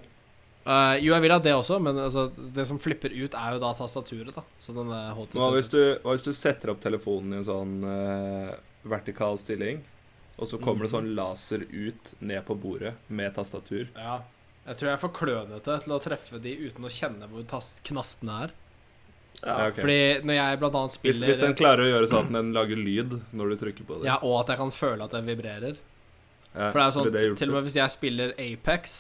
Eh, jo, jeg vil ha det også, men altså, det som flipper ut, er jo da tastaturet, da. Så den eh, HTC
Hva hvis, du, hva hvis du setter opp telefonen i en sånn eh, vertikal stilling, og så
Mm.
kommer det sånn laser ut ned på bordet med tastatur?
Ja. Jeg tror jeg er for klønete til å treffe de uten å kjenne hvor tast knastene er.
Ja, ok.
Fordi når jeg blant annet
hvis,
spiller
hvis den klarer å gjøre sånn at den lager lyd når du trykker på det.
Ja, og at jeg kan føle at den vibrerer.
Ja,
For
ville
det er jo sånn,
hjulpet?
til og med hvis jeg spiller Apex,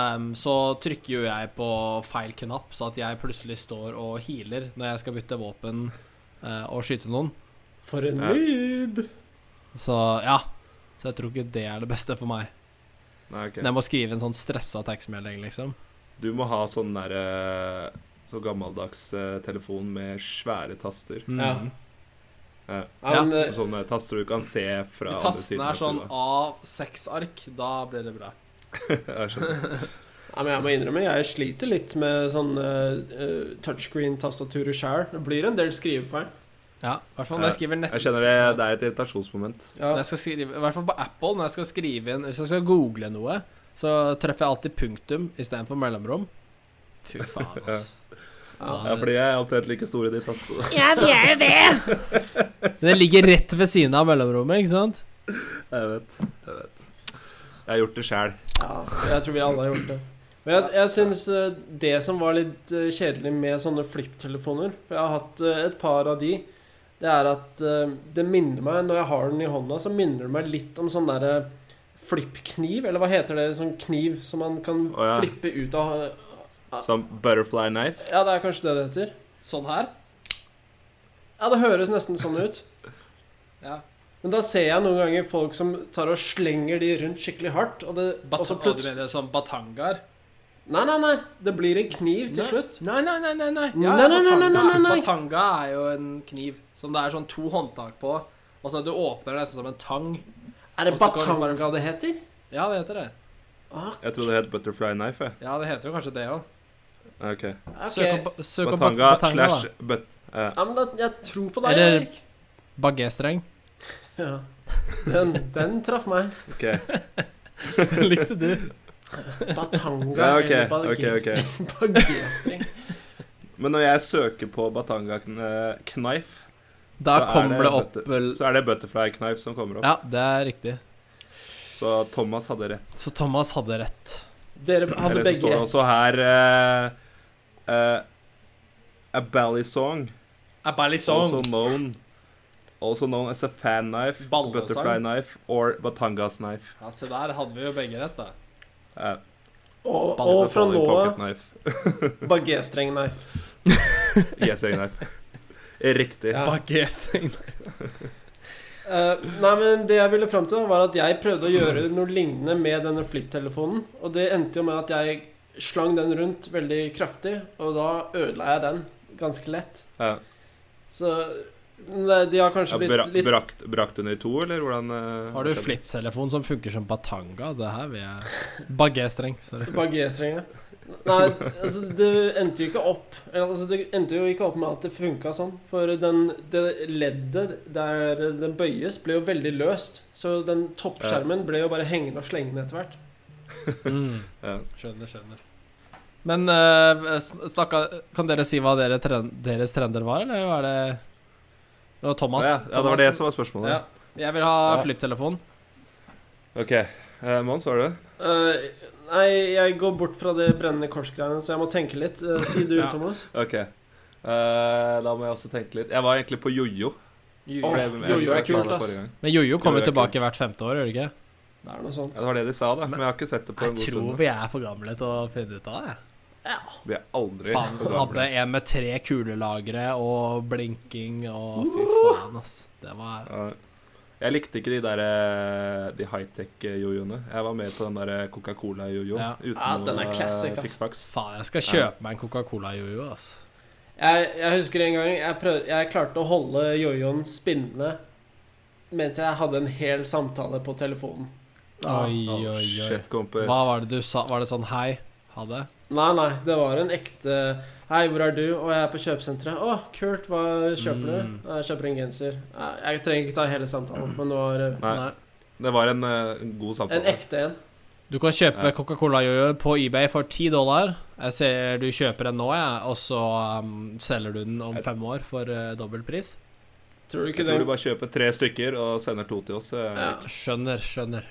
ehm, så trykker jo jeg på feil knapp, så at jeg plutselig står og healer når jeg skal bytte våpen eh, og skyte noen.
For en
Ja.
noob!
Så ja. Så jeg tror ikke det er det beste for meg.
Nei, ok.
Men Jeg må skrive en sånn stressa tekstmelding, liksom.
Du må ha sånn der eh, Så gammeldags eh, telefon med svære taster.
Mm.
Ja.
Ja.
Ja, men, eh,
Sånne taster du kan se fra
Hvis
andre
tastene
siden
er
av
sånn
stua.
A6-ark, da blir det bra.
Jeg skjønner.
ja, men jeg må innrømme, jeg sliter litt med sånn eh, eh, touchscreen-tastaturer sjæl. Det blir en del skrivefeil.
Ja, i hvert fall når jeg skriver nett...
Jeg skjønner det, det er et irritasjonsmoment.
Ja.
Når jeg skal skrive, I hvert fall på Apple, når jeg skal skrive inn Hvis jeg skal google noe, så treffer jeg alltid punktum istedenfor mellomrom. Fy faen, ass.
Ja, fordi jeg er omtrent like stor i de tastene.
*laughs*
Ja, vi er jo det.
Men det ligger rett ved siden av mellomrommet, ikke sant?
Jeg vet. Jeg vet. Jeg har gjort det sjæl.
Ja, jeg tror vi alle har gjort det. Men jeg, jeg syns eh, det som var litt eh, kjedelig med sånne flipptelefoner For jeg har hatt eh, et par av de. Det er at eh, det minner meg Når jeg har den i hånda, så minner det meg litt om sånn derre flippkniv, eller hva heter det? Sånn kniv som man kan
Å, ja.
flippe ut av
Som butterfly knife.
Ja, det er kanskje det det heter.
Sånn her?
Ja, det høres nesten sånn ut.
Ja.
Men da ser jeg noen ganger folk som tar og slenger de rundt skikkelig hardt, og det og
Bat
så
og du
plutselig
mener sånn batangar?
Nei, nei, nei. Det blir en kniv til
Nei.
slutt.
Nei, nei, nei, nei, nei.
Nei, nei, nei, nei,
batanga-
nei, nei, nei.
Batanga er jo en kniv som det er sånn to håndtak på, og så du åpner det nesten som en tang.
Er det
Og så kan du bare-
batanga det heter?
Ja, det heter det.
Ah,
Jeg trodde det het butterfly knife. jeg.
Ja, det heter jo kanskje det òg.
Ok.
ok.
Søk opp
Batanga
batanga,
slash
da.
but... eh,
Ja, men da, jeg tror på deg,
Eller-
Erik.
Bagestreng. *laughs*
Ja. Den, den traff meg.
ok.
Likte du?
Batanga
Ja, ok,
eller
ok,
bagestreng.
ok.
Bagestreng.
Men når jeg søker på Batanga kn- eh, knife,
Da
Så er
kommer
det
det opp vel-
så er det butterfly knife som kommer opp.
Ja, det er riktig.
Så Thomas hadde rett.
Så Thomas hadde rett.
Dere hadde
Eller så
begge
står det
rett.
også her eh, eh, A belly song,
sånn.
also
Sånn.
known Also known as a fan knife,
Ballesang.
butterfly knife or Batangas knife.
Ja, se der hadde vi jo begge rett, da.
Eh,
Og, og
Balsa
fra
falling
nå
pocket
av
knife. *laughs*
bagestreng-knife.
Yes, jeg knife. *laughs* Riktig.
Ja.
Bagestreng.
Eh, nei, men Det jeg ville fram til, da, var at jeg prøvde å gjøre noe lignende med denne flipptelefonen. Og det endte jo med at jeg slang den rundt veldig kraftig, og da ødela jeg den ganske lett.
Ja.
Så men det- de har
Ja,
kanskje
bra,
blitt litt
brakt, brakt den i to, eller hvordan eh,
Har du
skjedde?
flipptelefon som funker som batanga? Det her vil jeg Bagestreng, sorry.
Baguette-strenger. Nei, altså, det endte jo ikke opp eller, altså, Det endte jo ikke opp med at det funka sånn. For den, det leddet der den bøyes, ble jo veldig løst. Så den toppskjermen ble jo bare hengende og slengende etter hvert.
Mm.
Ja.
Skjønner, skjønner. Men eh, sn- snakka Kan dere si hva dere tren deres trender var, eller var det Det var Thomas.
ja, ja, det var det som var spørsmålet.
Ja. Jeg vil ha
Ja.
flipptelefon.
OK. Eh, Mons, var det det?
Eh, nei, jeg går bort fra det brennende kors-greiene, så jeg må tenke litt. Eh, si *laughs* du,
Ja.
Thomas.
OK. Eh, da må jeg også tenke litt. Jeg var egentlig på jojo.
Åh,
Jeg- jeg-
jojo er
jeg sa
kult,
det
ass.
forrige gang.
Men jojo kommer
Jojo er
tilbake hvert femte år, gjør det ikke?
Det er noe sånt.
Ja, det var det de sa, da. Men jeg har ikke sett det på en
Jeg
god
tror
stund.
vi er for gamle til å finne ut av det.
Vi er aldri
Faen,
for
hadde
gamle.
en med tre kulelagre og blinking og fy faen, ass. Det var
Ja. Jeg likte ikke de der eh, De high-tech-jojoene. Jeg var med på den der Coca-Cola-jojo.
Ja.
Uten
Ja, den er
noe, eh,
classic, ass.
fiksfaks.
Faen, jeg skal kjøpe meg en Coca-Cola-jojo, ass.
Jeg, jeg husker en gang jeg, prøv, jeg klarte å holde jojoen spinnende mens jeg hadde en hel samtale på telefonen. Ja.
Oi,
Oh,
oi, oi.
Shit, kompis.
Hva var det du sa? Var det sånn hei, ha det?
Nei, nei, det var en ekte Hei, hvor er du? Og jeg er på kjøpesenteret. Å, kult, hva kjøper du?
Mm.
Jeg kjøper en genser. Nei, Jeg trenger ikke ta hele samtalen, men det var eh,
Nei, det var en eh, en god samtale.
en ekte en.
Du kan kjøpe
Ja.
Coca-Cola-jojo på eBay for 10 dollar. Jeg ser du kjøper den nå, jeg, og så um, selger du den om fem år for uh, dobbel pris.
Tror du ikke
Jeg
den,
tror du bare kjøper tre stykker og sender to til oss. eh.
ja,
Skjønner, skjønner.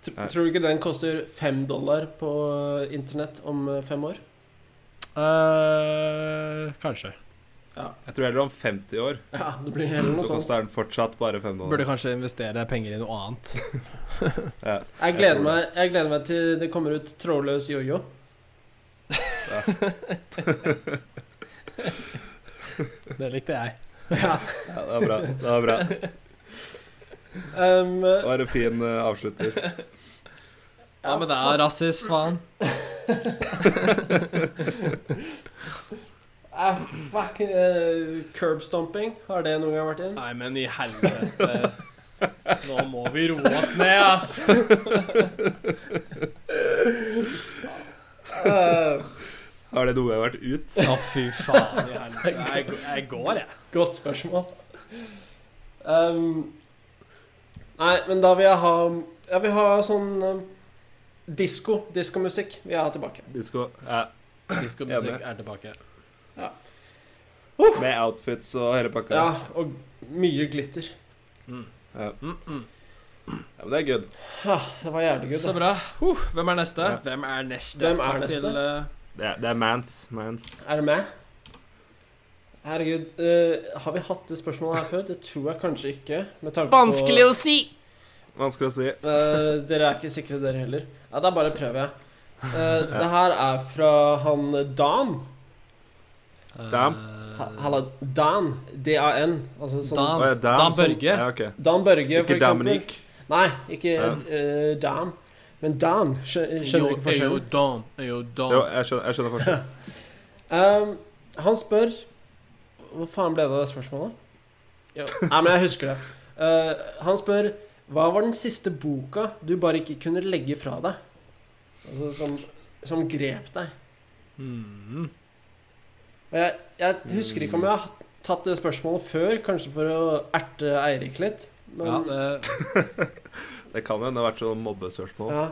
tr tror du ikke den koster fem dollar på eh, internett om eh, fem år? *laughs*
eh kanskje.
Jeg tror heller om 50 år
Ja, det blir heller noe
så
sånt.
koster den fortsatt bare 5 dollar.
Burde kanskje investere penger i noe annet.
*laughs*
Ja.
Jeg
Jeg
gleder,
tror
meg, jeg gleder meg til det kommer ut trådløs *laughs* jojo.
Det likte jeg.
ja, det var bra. Det var bra.
Um,
Det var en fin eh, avslutter.
Ja, men det er rasist, faen.
*laughs* eh, fuck, eh, curb stomping, har det noen gang vært inn?
Nei, men i helvete. Nå må vi roe oss ned, ass.
Eh,
Har det noe jeg har vært ut?
Å, fy faen i helvete. Jeg, jeg går, jeg.
Godt spørsmål. Ehm, nei, men da vil jeg ha Jeg vil ha sånn um, disko. Diskomusikk vil jeg ha tilbake.
Disko. Ja.
Diskomusikk er tilbake.
Med outfits og hele pakka.
Ja, og mye glitter.
Mm.
Ja.
Mm -mm.
Ja, men det er good.
Ah, det var jævlig good.
Så
Da.
bra. Huh, hvem er neste?
Ja.
Hvem er neste?
Hvem er
Takk
neste?
Til, eh,
Det er, det er mans. Mans.
Er det meg? Herregud. eh, har vi hatt det spørsmålet her før? Det tror jeg kanskje ikke. Med tanke på
si!
Vanskelig å si.
Eh, dere er ikke sikre, dere heller. Ja, da bare prøver jeg. Eh, det her er fra han Dan.
Dam.
Ha- Halla, Dan. Dan. Altså sånn
Dan.
Å, ja, Dan,
Dan
sånn.
Børge.
Ja, ok.
Dan Børge, for
Ikke
eksempel.
Dominic.
Nei, ikke
Ja.
eh, Dan. Men Dan. Skjø- Skjønner du ikke
Yo,
forskjellen?
dam. Yo, dam.
Jo, jeg skjønner, jeg skjønner forskjellen.
Um, han spør Hvor faen ble det av det spørsmålet? Ja. Nei, men jeg husker det. Uh, han spør Hva var den siste boka du bare ikke kunne legge fra deg? Altså, som, som grep deg.
Mm.
Og jeg, jeg husker ikke om jeg har tatt det spørsmålet før, kanskje for å erte Eirik litt. Men,
Ja,
ja,
det,
Det kan hende det har vært sånn mobbespørsmål.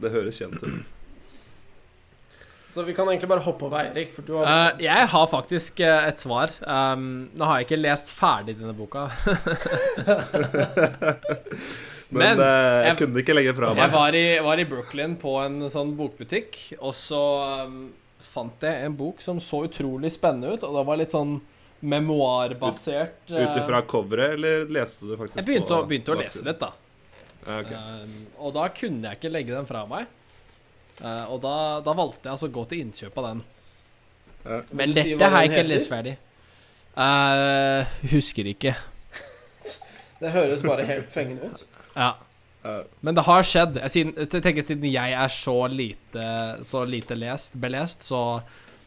Det høres kjent ut.
Så vi kan egentlig bare hoppe over Eirik, for du har
Eh, jeg har faktisk eh, et svar. Um, nå har jeg ikke lest ferdig denne boka.
Men,
Men,
eh, jeg
jeg-
kunne det ikke legge fra
*laughs* Jeg
meg.
var i, var i Brooklyn på en sånn bokbutikk, og så um, fant jeg en bok som så utrolig spennende ut, og det var litt sånn memoarbasert eh,
Ut ifra coveret, eller leste du faktisk
Jeg begynte
på
å, begynte å lese
baksiden?
litt, da.
Ja, ok.
Um, og da kunne jeg ikke legge den fra meg. Eh, og da, da valgte jeg altså å gå til innkjøp av den.
Ja.
Men
Vil du si hva
dette har jeg
den
ikke
heter?
lest ferdig. Eh, husker ikke.
Det høres bare helt fengende ut.
Ja.
Ja.
Men det har skjedd. Jeg, siden, jeg tenker Siden jeg er så lite, så lite lest, belest, så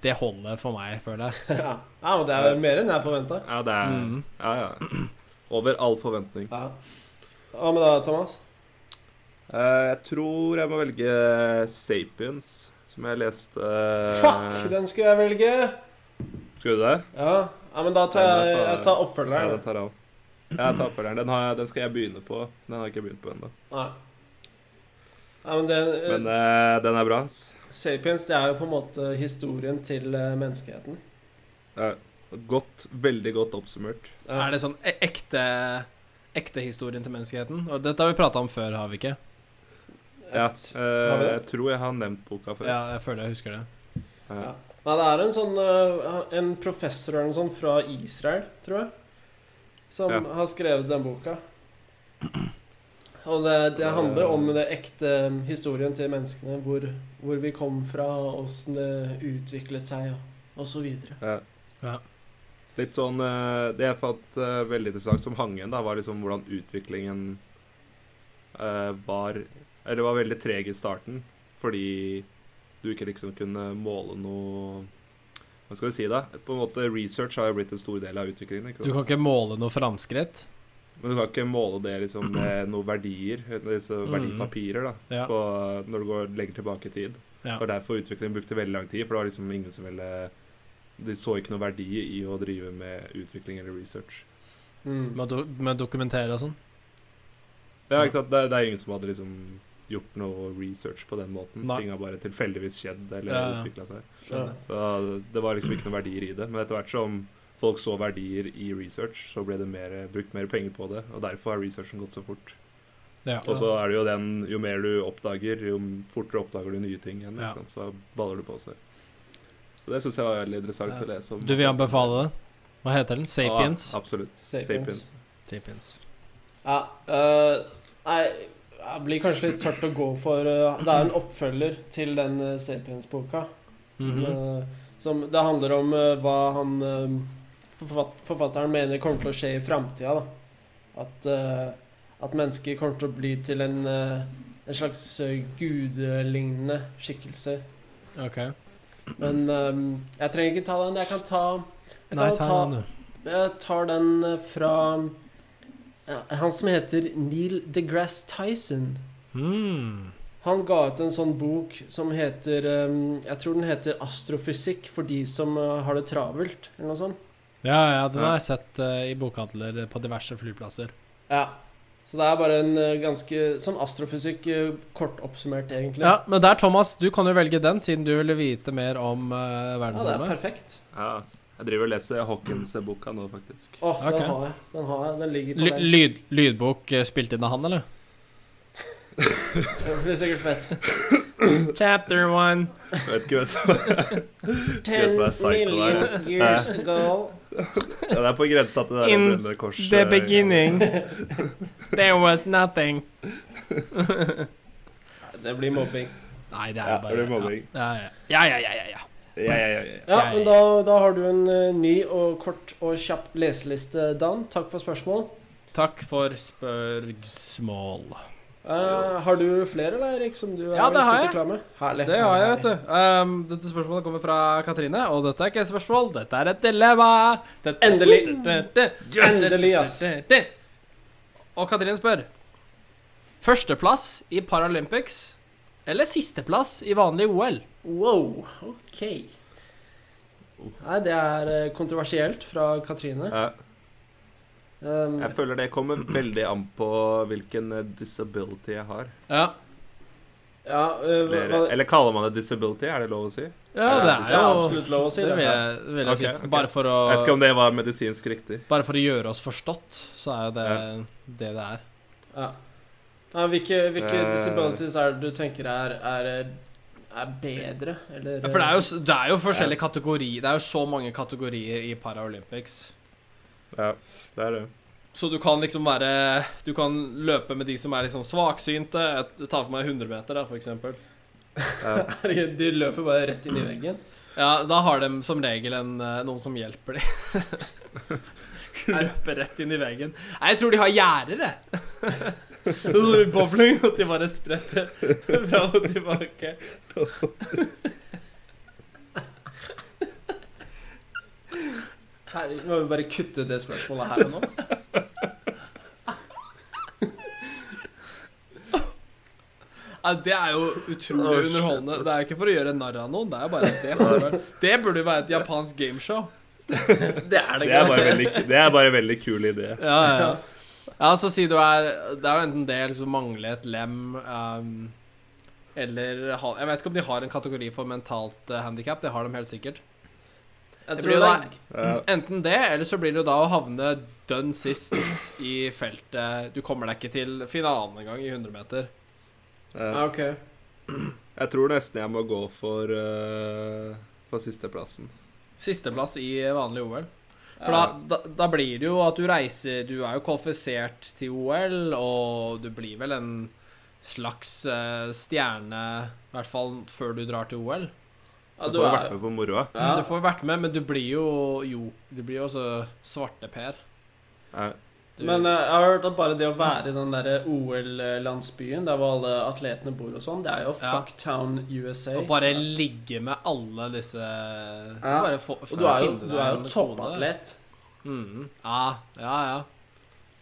det holder for meg, føler jeg.
ja, Ja, men det er jo mer enn jeg forventa.
ja, det er
Mm.
Ja, ja. Over all forventning.
Ja. Hva med deg, Thomas?
Eh, jeg tror jeg må velge Sapiens, som jeg leste eh,
Fuck, den skulle jeg velge!
Skal du det?
Ja, ja men da tar
Ja, det
jeg,
er faen-
jeg tar
Ja, den
oppfølgeren.
tar han. Jeg tar på den. Den, har jeg, den skal jeg begynne på. Den har jeg ikke begynt på ennå.
Nei. Ja, men det,
Men eh, den er bra. ass.
Sapiens det er jo på en måte historien til eh, menneskeheten.
Ja. Godt, veldig godt oppsummert.
Ja.
Er det sånn e- ekte Ekte historien til menneskeheten? Og dette har vi prata om før, har vi ikke?
Ja,
vi
eh,
det?
jeg tror jeg har nevnt boka før.
Ja, jeg føler jeg husker det.
Ja.
Nei, det er en sånn eh, En professor eller noe sånt fra Israel, tror jeg, som
Ja.
har skrevet den boka. Og det, det handler om det ekte eh, historien til menneskene. Hvor, hvor vi kom fra, åssen det utviklet seg, og, og så videre.
Ja.
Ja.
Litt sånn eh, Det jeg fant eh, veldig interessant som hang igjen, da, var liksom hvordan utviklingen eh, var Eller var veldig treg i starten, fordi du ikke liksom kunne måle noe Hva skal vi si, da? På en måte Research har jo blitt en stor del av utviklingen. ikke
Du
sant?
kan ikke måle noe framskritt?
Men du kan ikke måle det liksom
*clears throat*
med noen verdier, disse
Mm.
verdipapirer, da,
Ja.
på, når du går lenger tilbake i tid.
Ja.
Det var derfor utviklingen brukte veldig lang tid, for det var liksom ingen som ville De så ikke noe verdi i å drive med utvikling eller research.
Mm.
Med, do, med dokumentere og sånn?
Ja, ikke sant? Det, det er ingen som hadde liksom gjort noe research på den måten.
Nei.
Ting har bare tilfeldigvis skjedd eller
Ja, ja.
utvikla seg.
Skjønner.
Så det var liksom ikke noen verdier i det. Men etter hvert som folk så verdier i research, så ble det mer, brukt mer penger på det. Og derfor har researchen gått så fort.
Ja.
Og så er det jo den Jo mer du oppdager, jo fortere oppdager du nye ting igjen.
Ja.
Ikke sant? Så baller du på seg. Så det syns jeg var veldig interessant
Ja.
å lese om.
Du vil anbefale det? Hva heter den? Sapiens?
Ja, absolutt.
Sapiens.
Sapiens.
Sapiens.
Ja, øh, nei, det blir kanskje litt tørt å gå for øh, Det er en oppfølger til den øh, Sapiens-boka.
Mhm.
øh, som Det handler om øh, hva han øh, forfatt, forfatteren mener kommer til å skje i framtida. da. At, øh, at mennesker kommer til å bli til en, øh, en slags øh, gudelignende skikkelse.
OK.
Men øh, jeg trenger ikke ta den. Jeg kan ta jeg
Nei,
kan
ta den, du.
jeg tar den eh, fra ja, han som heter Neil deGrasse Tyson.
Mm.
Han ga ut en sånn bok som heter eh, Jeg tror den heter 'Astrofysikk for de som eh, har det travelt', eller noe sånt.
Ja, ja, den har
Ja.
jeg sett eh, i bokhandler på diverse flyplasser.
Ja. Så det er bare en eh, ganske sånn astrofysikk eh, kort oppsummert, egentlig.
Ja, men der, Thomas, du kan jo velge den, siden du ville vite mer om eh,
Ja, det er
verdensrommet.
perfekt.
Ja, altså. jeg driver og leser Hawkins-boka nå, faktisk.
Å,
Ok.
den har jeg. Den har jeg. Den ligger på
Ly-
deg. *laughs*
lyd, lydbok eh, spilt inn av han, eller?
*laughs*
Det blir sikkert fett.
*laughs* Chapter one.
Vet ikke hvem som *laughs* Ten som er psycho der. *laughs*
years ago.
Ja, det er på grensa til det der eh,
In
brennende korset.
The
*laughs*
beginning. There was nothing.
Det blir mobbing.
Nei, det er
Ja,
bare
det er mobbing.
Ja, ja, ja. ja, ja, ja, ja.
Ja, ja, ja, ja.
Ja, men da, da har du en eh, ny og kort og kjapp leseliste, Dan. Takk for spørsmål.
Takk for spørsmål.
Eh, har du flere, eller, Erik, som du
Ja, det har
sitter
jeg.
klar med? Herlig.
Det har jeg, vet du. Um, dette spørsmålet kommer fra Katrine, og dette er ikke et spørsmål, dette er et dilemma. Dette-
Endelig.
Dette-
Yes!
Endelig, ass.
Dette. Og Katrine spør Førsteplass i Paralympics eller sisteplass i vanlig OL?
Wow, ok. Nei, det er eh, kontroversielt fra Katrine.
Ja,
Um,
Jeg føler det kommer veldig an på hvilken eh, disability jeg har.
Ja,
ja, eh, hva,
Eller, eller kaller man det disability? Er det lov å si? Jeg
ja det
det er
er jo
absolutt lov å si det.
Det vil jeg, det vil jeg si.
Ok, ok.
Bare for
vet ikke
å
om det var medisinsk riktig.
Bare for å gjøre oss forstått, så er jo det det det er.
Ja. Nei, hvilke, hvilke
Eh.
disabilities er det du tenker er, er, eh, er bedre, eller
Ja, for det er jo, det er jo forskjellige kategorier. Det er jo så mange kategorier i Paralympics.
Ja, det er det.
Så du kan liksom være Du kan løpe med de som er liksom svaksynte. Jeg tar for meg 100 meter, da, for eksempel.
eh, *laughs* Herregud, De løper bare rett inn i veggen.
Ja, da har de som regel en, eh, noen som hjelper dem. Løper rett inn i veggen. Nei, jeg tror de har gjerder, jeg. *laughs* Så det blir Bowling, og de bare spretter fram og tilbake.
Herregud, må vi bare kutte det spørsmålet her og nå?
Ja, det er jo utrolig underholdende. Det er jo ikke for å gjøre narr av noen. Det er jo bare det. Altså. Det burde jo være et japansk gameshow.
Det er det
*laughs* Det er bare
garantert.
veldig, det er bare veldig kul idé.
Ja, ja. ja så si du er Det er jo enten det eller så mangle et lem ehm, Eller ha, Jeg vet ikke om de har en kategori for mentalt uh, handikap. Det har de helt sikkert.
Jeg
Det
tror det
blir jo
er
da
Ja.
enten det, eller så blir det jo da å havne dønn sist i feltet. Du kommer deg ikke til finalen engang i 100 meter.
Ja,
Ja.
ok.
Jeg tror nesten jeg må gå for, eh, for sisteplassen.
Sisteplass i vanlig OL. For da, da, da blir det jo at du reiser Du er jo kvalifisert til OL, og du blir vel en slags eh, stjerne, i hvert fall før du drar til OL.
Ja,
Du
du
får jo vært
er
med på moroa.
ja.
Du får vært med, men du blir jo Jo, du blir jo også svarteper.
Ja.
Du-
Men eh, jeg har hørt at bare det å være i den derre OL-landsbyen, der hvor alle atletene bor og sånn, det er jo
Ja.
fuck town USA.
Å bare ligge med alle disse Bare få,
Og du er jo, du
finne deg
er
en
jo
kone.
toppatlet.
Mm. Ja, ja, ja.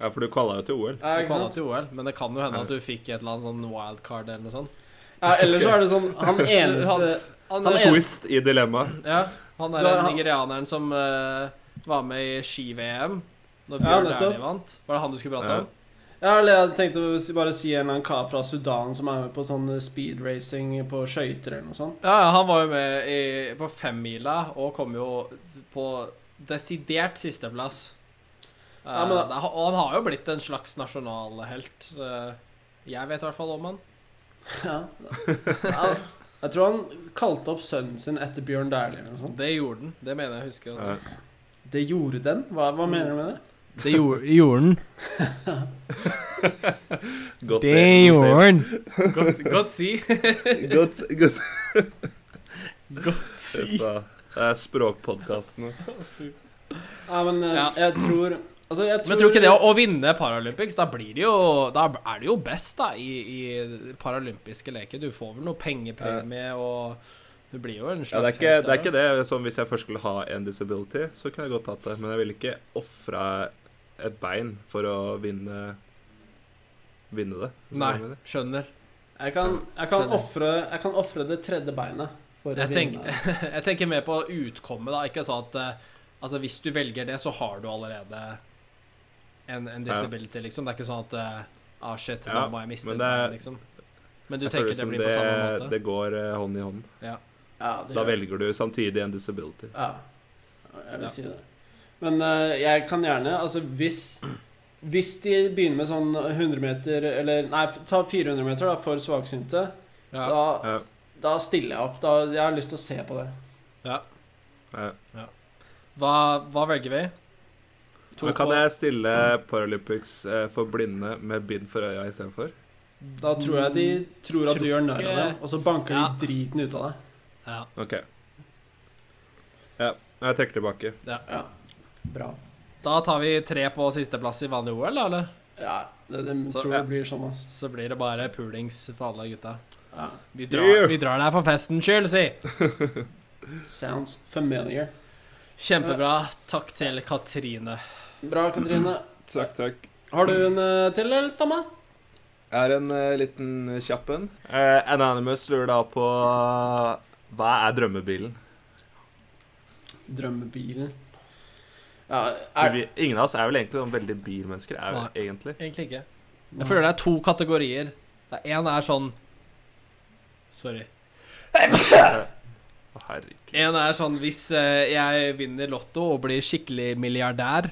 ja, for du kalla jo til OL.
Ja,
Du
ikke
kvala
sant?
til OL, men det kan jo hende at du fikk et eller annet sånn wildcard eller noe sånt.
Ja, eller så er det
*laughs*
sånn Han eneste
Han,
Han er-
Twist i dilemmaet.
ja, han
Du
er
har-
den
han-
nigerianeren som eh, var med i ski-VM. Når
Ja,
Bjørn
nettopp.
Dæhlie vant. Var det han du skulle prate
Ja.
om?
Ja, eller jeg tenkte å si- bare si en eller annen kar fra Sudan som er med på sånn speed racing på skøyter eller noe
*laughs*
sånt.
Ja, ja, han var jo med i, på femmila og kom jo på desidert sisteplass. Eh,
Ja, men da-
det er- og han har jo blitt en slags nasjonalhelt. eh, jeg vet i hvert fall om han.
Ja. Ja, Jeg tror han kalte opp sønnen sin etter Bjørn Dæhlie eller noe sånt.
Det gjorde han. Det mener jeg å huske. altså.
Ja.
Også.
Det gjorde den? Hva, hva mener du med det?
Det gjorde han.
Godt se- godt
han. Godt,
*laughs*
godt si.
se- Godt, godt.
Godt si.
Dette er språkpodkasten. altså.
Ja, men eh,
Ja.
jeg tror Altså, jeg tror
Men tror ikke det å, å vinne Paralympics, da blir det jo Da er det jo best, da, i, i paralympiske leker. Du får vel noe pengepremie og Du blir jo en
Ja, det, er
slags
ikke, det er
helt der, da.
ikke det. Som hvis jeg først skulle ha en disability, så kunne jeg godt hatt det. Men jeg ville ikke ofra et bein for å vinne Vinne det. hvis du skjønner hva jeg
Nei,
mener.
skjønner.
Jeg kan, jeg kan
Skjønner.
ofre jeg kan ofre det tredje beinet for å
Jeg tenker-
vinne.
*laughs* Jeg tenker mer på utkommet, da. Ikke sånn at eh, Altså, hvis du velger det, så har du allerede en,
Ja.
en disability, liksom. Det er ikke sånn at eh, Ah, shit,
Ja,
nå må jeg miste
men
det,
det er-
liksom. Men du
Jeg føler
tenker det
som
blir på samme måte?
Det går eh, hånd i hånd.
Ja, det
Da
gjør jeg.
velger du samtidig en disability.
Ja, jeg vil
Ja.
si det. Men eh, jeg kan gjerne Altså, hvis hvis de begynner med sånn 100 meter, eller nei, ta 400 meter da, for svaksynte,
Ja.
Da,
Ja,
da stiller jeg opp. Da, jeg har lyst til å se på det.
ja.
Hva, hva velger vi?
Men kan jeg stille Paralympics eh, for blinde med bind for øya istedenfor?
Da tror jeg de tror at du gjør narr av
Mm. Tror
dem,
ikke-
og så banker
Ja.
de driten ut av deg.
Ja.
OK. Ja, jeg trekker tilbake.
Ja. Bra.
Da tar vi tre på sisteplass i vanlig OL, da, eller?
Ja, det, det
Så-
tror
ja.
jeg blir sånn, altså.
Så blir det bare pulings for alle gutta.
Ja.
Vi drar,
Yeah.
vi drar der for festens skyld, si!
Sounds familiar.
Kjempebra. Takk til Katrine.
Bra, Katrine. *clears throat*
Takk, takk.
Har du en eh, til, eller, Thomas?
Jeg har en eh, liten kjapp en. Eh, Anonymous lurer da på eh, Hva er drømmebilen?
Drømmebilen. Ja,
For
er
vi, ingen av oss er vel egentlig sånn veldig bilmennesker. Er
Nei.
vi egentlig
Egentlig ikke. Jeg føler det er to kategorier. Én er sånn Sorry.
Å, Herregud.
Én er sånn hvis eh, jeg vinner Lotto og blir skikkelig milliardær,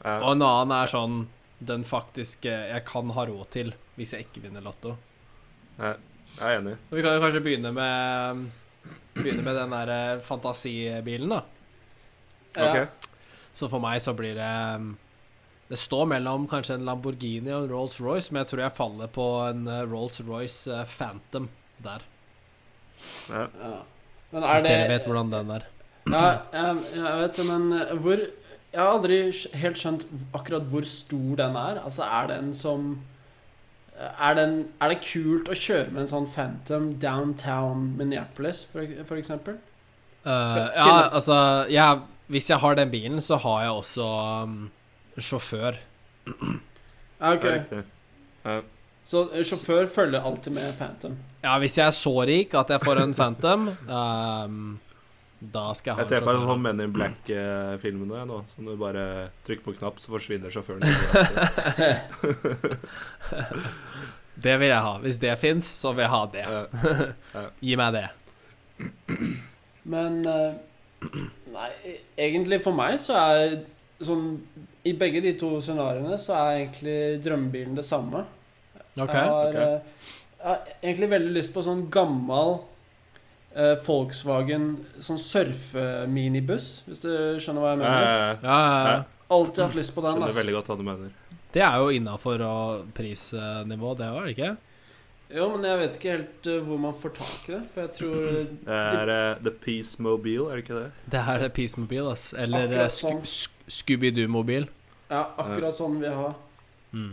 og
Ja,
en annen er sånn den faktiske jeg kan ha råd til hvis jeg ikke vinner Lotto.
jeg er enig.
Og vi kan jo kanskje begynne med mm, Begynne med den der eh, fantasibilen, da.
OK.
Ja.
Så for meg så blir det um, Det står mellom kanskje en Lamborghini og en Rolls-Royce, men jeg tror jeg faller på en eh, Rolls-Royce eh, Phantom der.
Ja.
Ja. Men
Hvis
er det
dere vet hvordan den er.
Ja, jeg, jeg vet det, men eh, hvor Jeg har aldri skj- helt skjønt v- akkurat hvor stor den er. Altså, er den som eh, er, den, er det kult å kjøre med en sånn Phantom downtown Minneapolis, for, ek- for eksempel?
Eh,
Skal-
ja, altså jeg, Hvis jeg har den bilen, så har jeg også um, sjåfør.
Ja,
det er
ok.
riktig.
Så eh, sjåfør følger alltid med Phantom.
Ja, hvis jeg er så rik at jeg
*laughs*
får en Phantom, um, da skal
Jeg
jeg ha
ser
en
på en
sjåfør.
sånn Men in Black-filmene nå, som du bare trykker på knapp, så forsvinner sjåføren.
*laughs*
Ja.
Det vil jeg ha. Hvis det fins, så vil jeg ha det.
Eh,
Gi meg det.
Men eh, Nei, e- egentlig for meg så er sånn I begge de to scenarioene så er egentlig drømmebilen det samme.
Ok.
Jeg har,
Ok.
eh, jeg har egentlig veldig lyst på sånn gammel eh, Volkswagen sånn surfeminibuss, hvis du skjønner hva jeg mener.
eh, Jeg
Ja, ja, ja.
Alltid hatt lyst på den.
skjønner
Altså.
veldig godt hva du mener.
det er jo innafor prisnivå, det òg, er det ikke?
Jo, men jeg vet ikke helt eh, hvor man får tak i det, for jeg tror
Det er eh, The Peace Mobile, er det ikke det?
Det er det Peace Mobil, ass. Eller eh,
Akkurat
Sco
sånn.
Sc- Scooby-Doo-mobil.
Ja, akkurat sånn vi har.
Mm.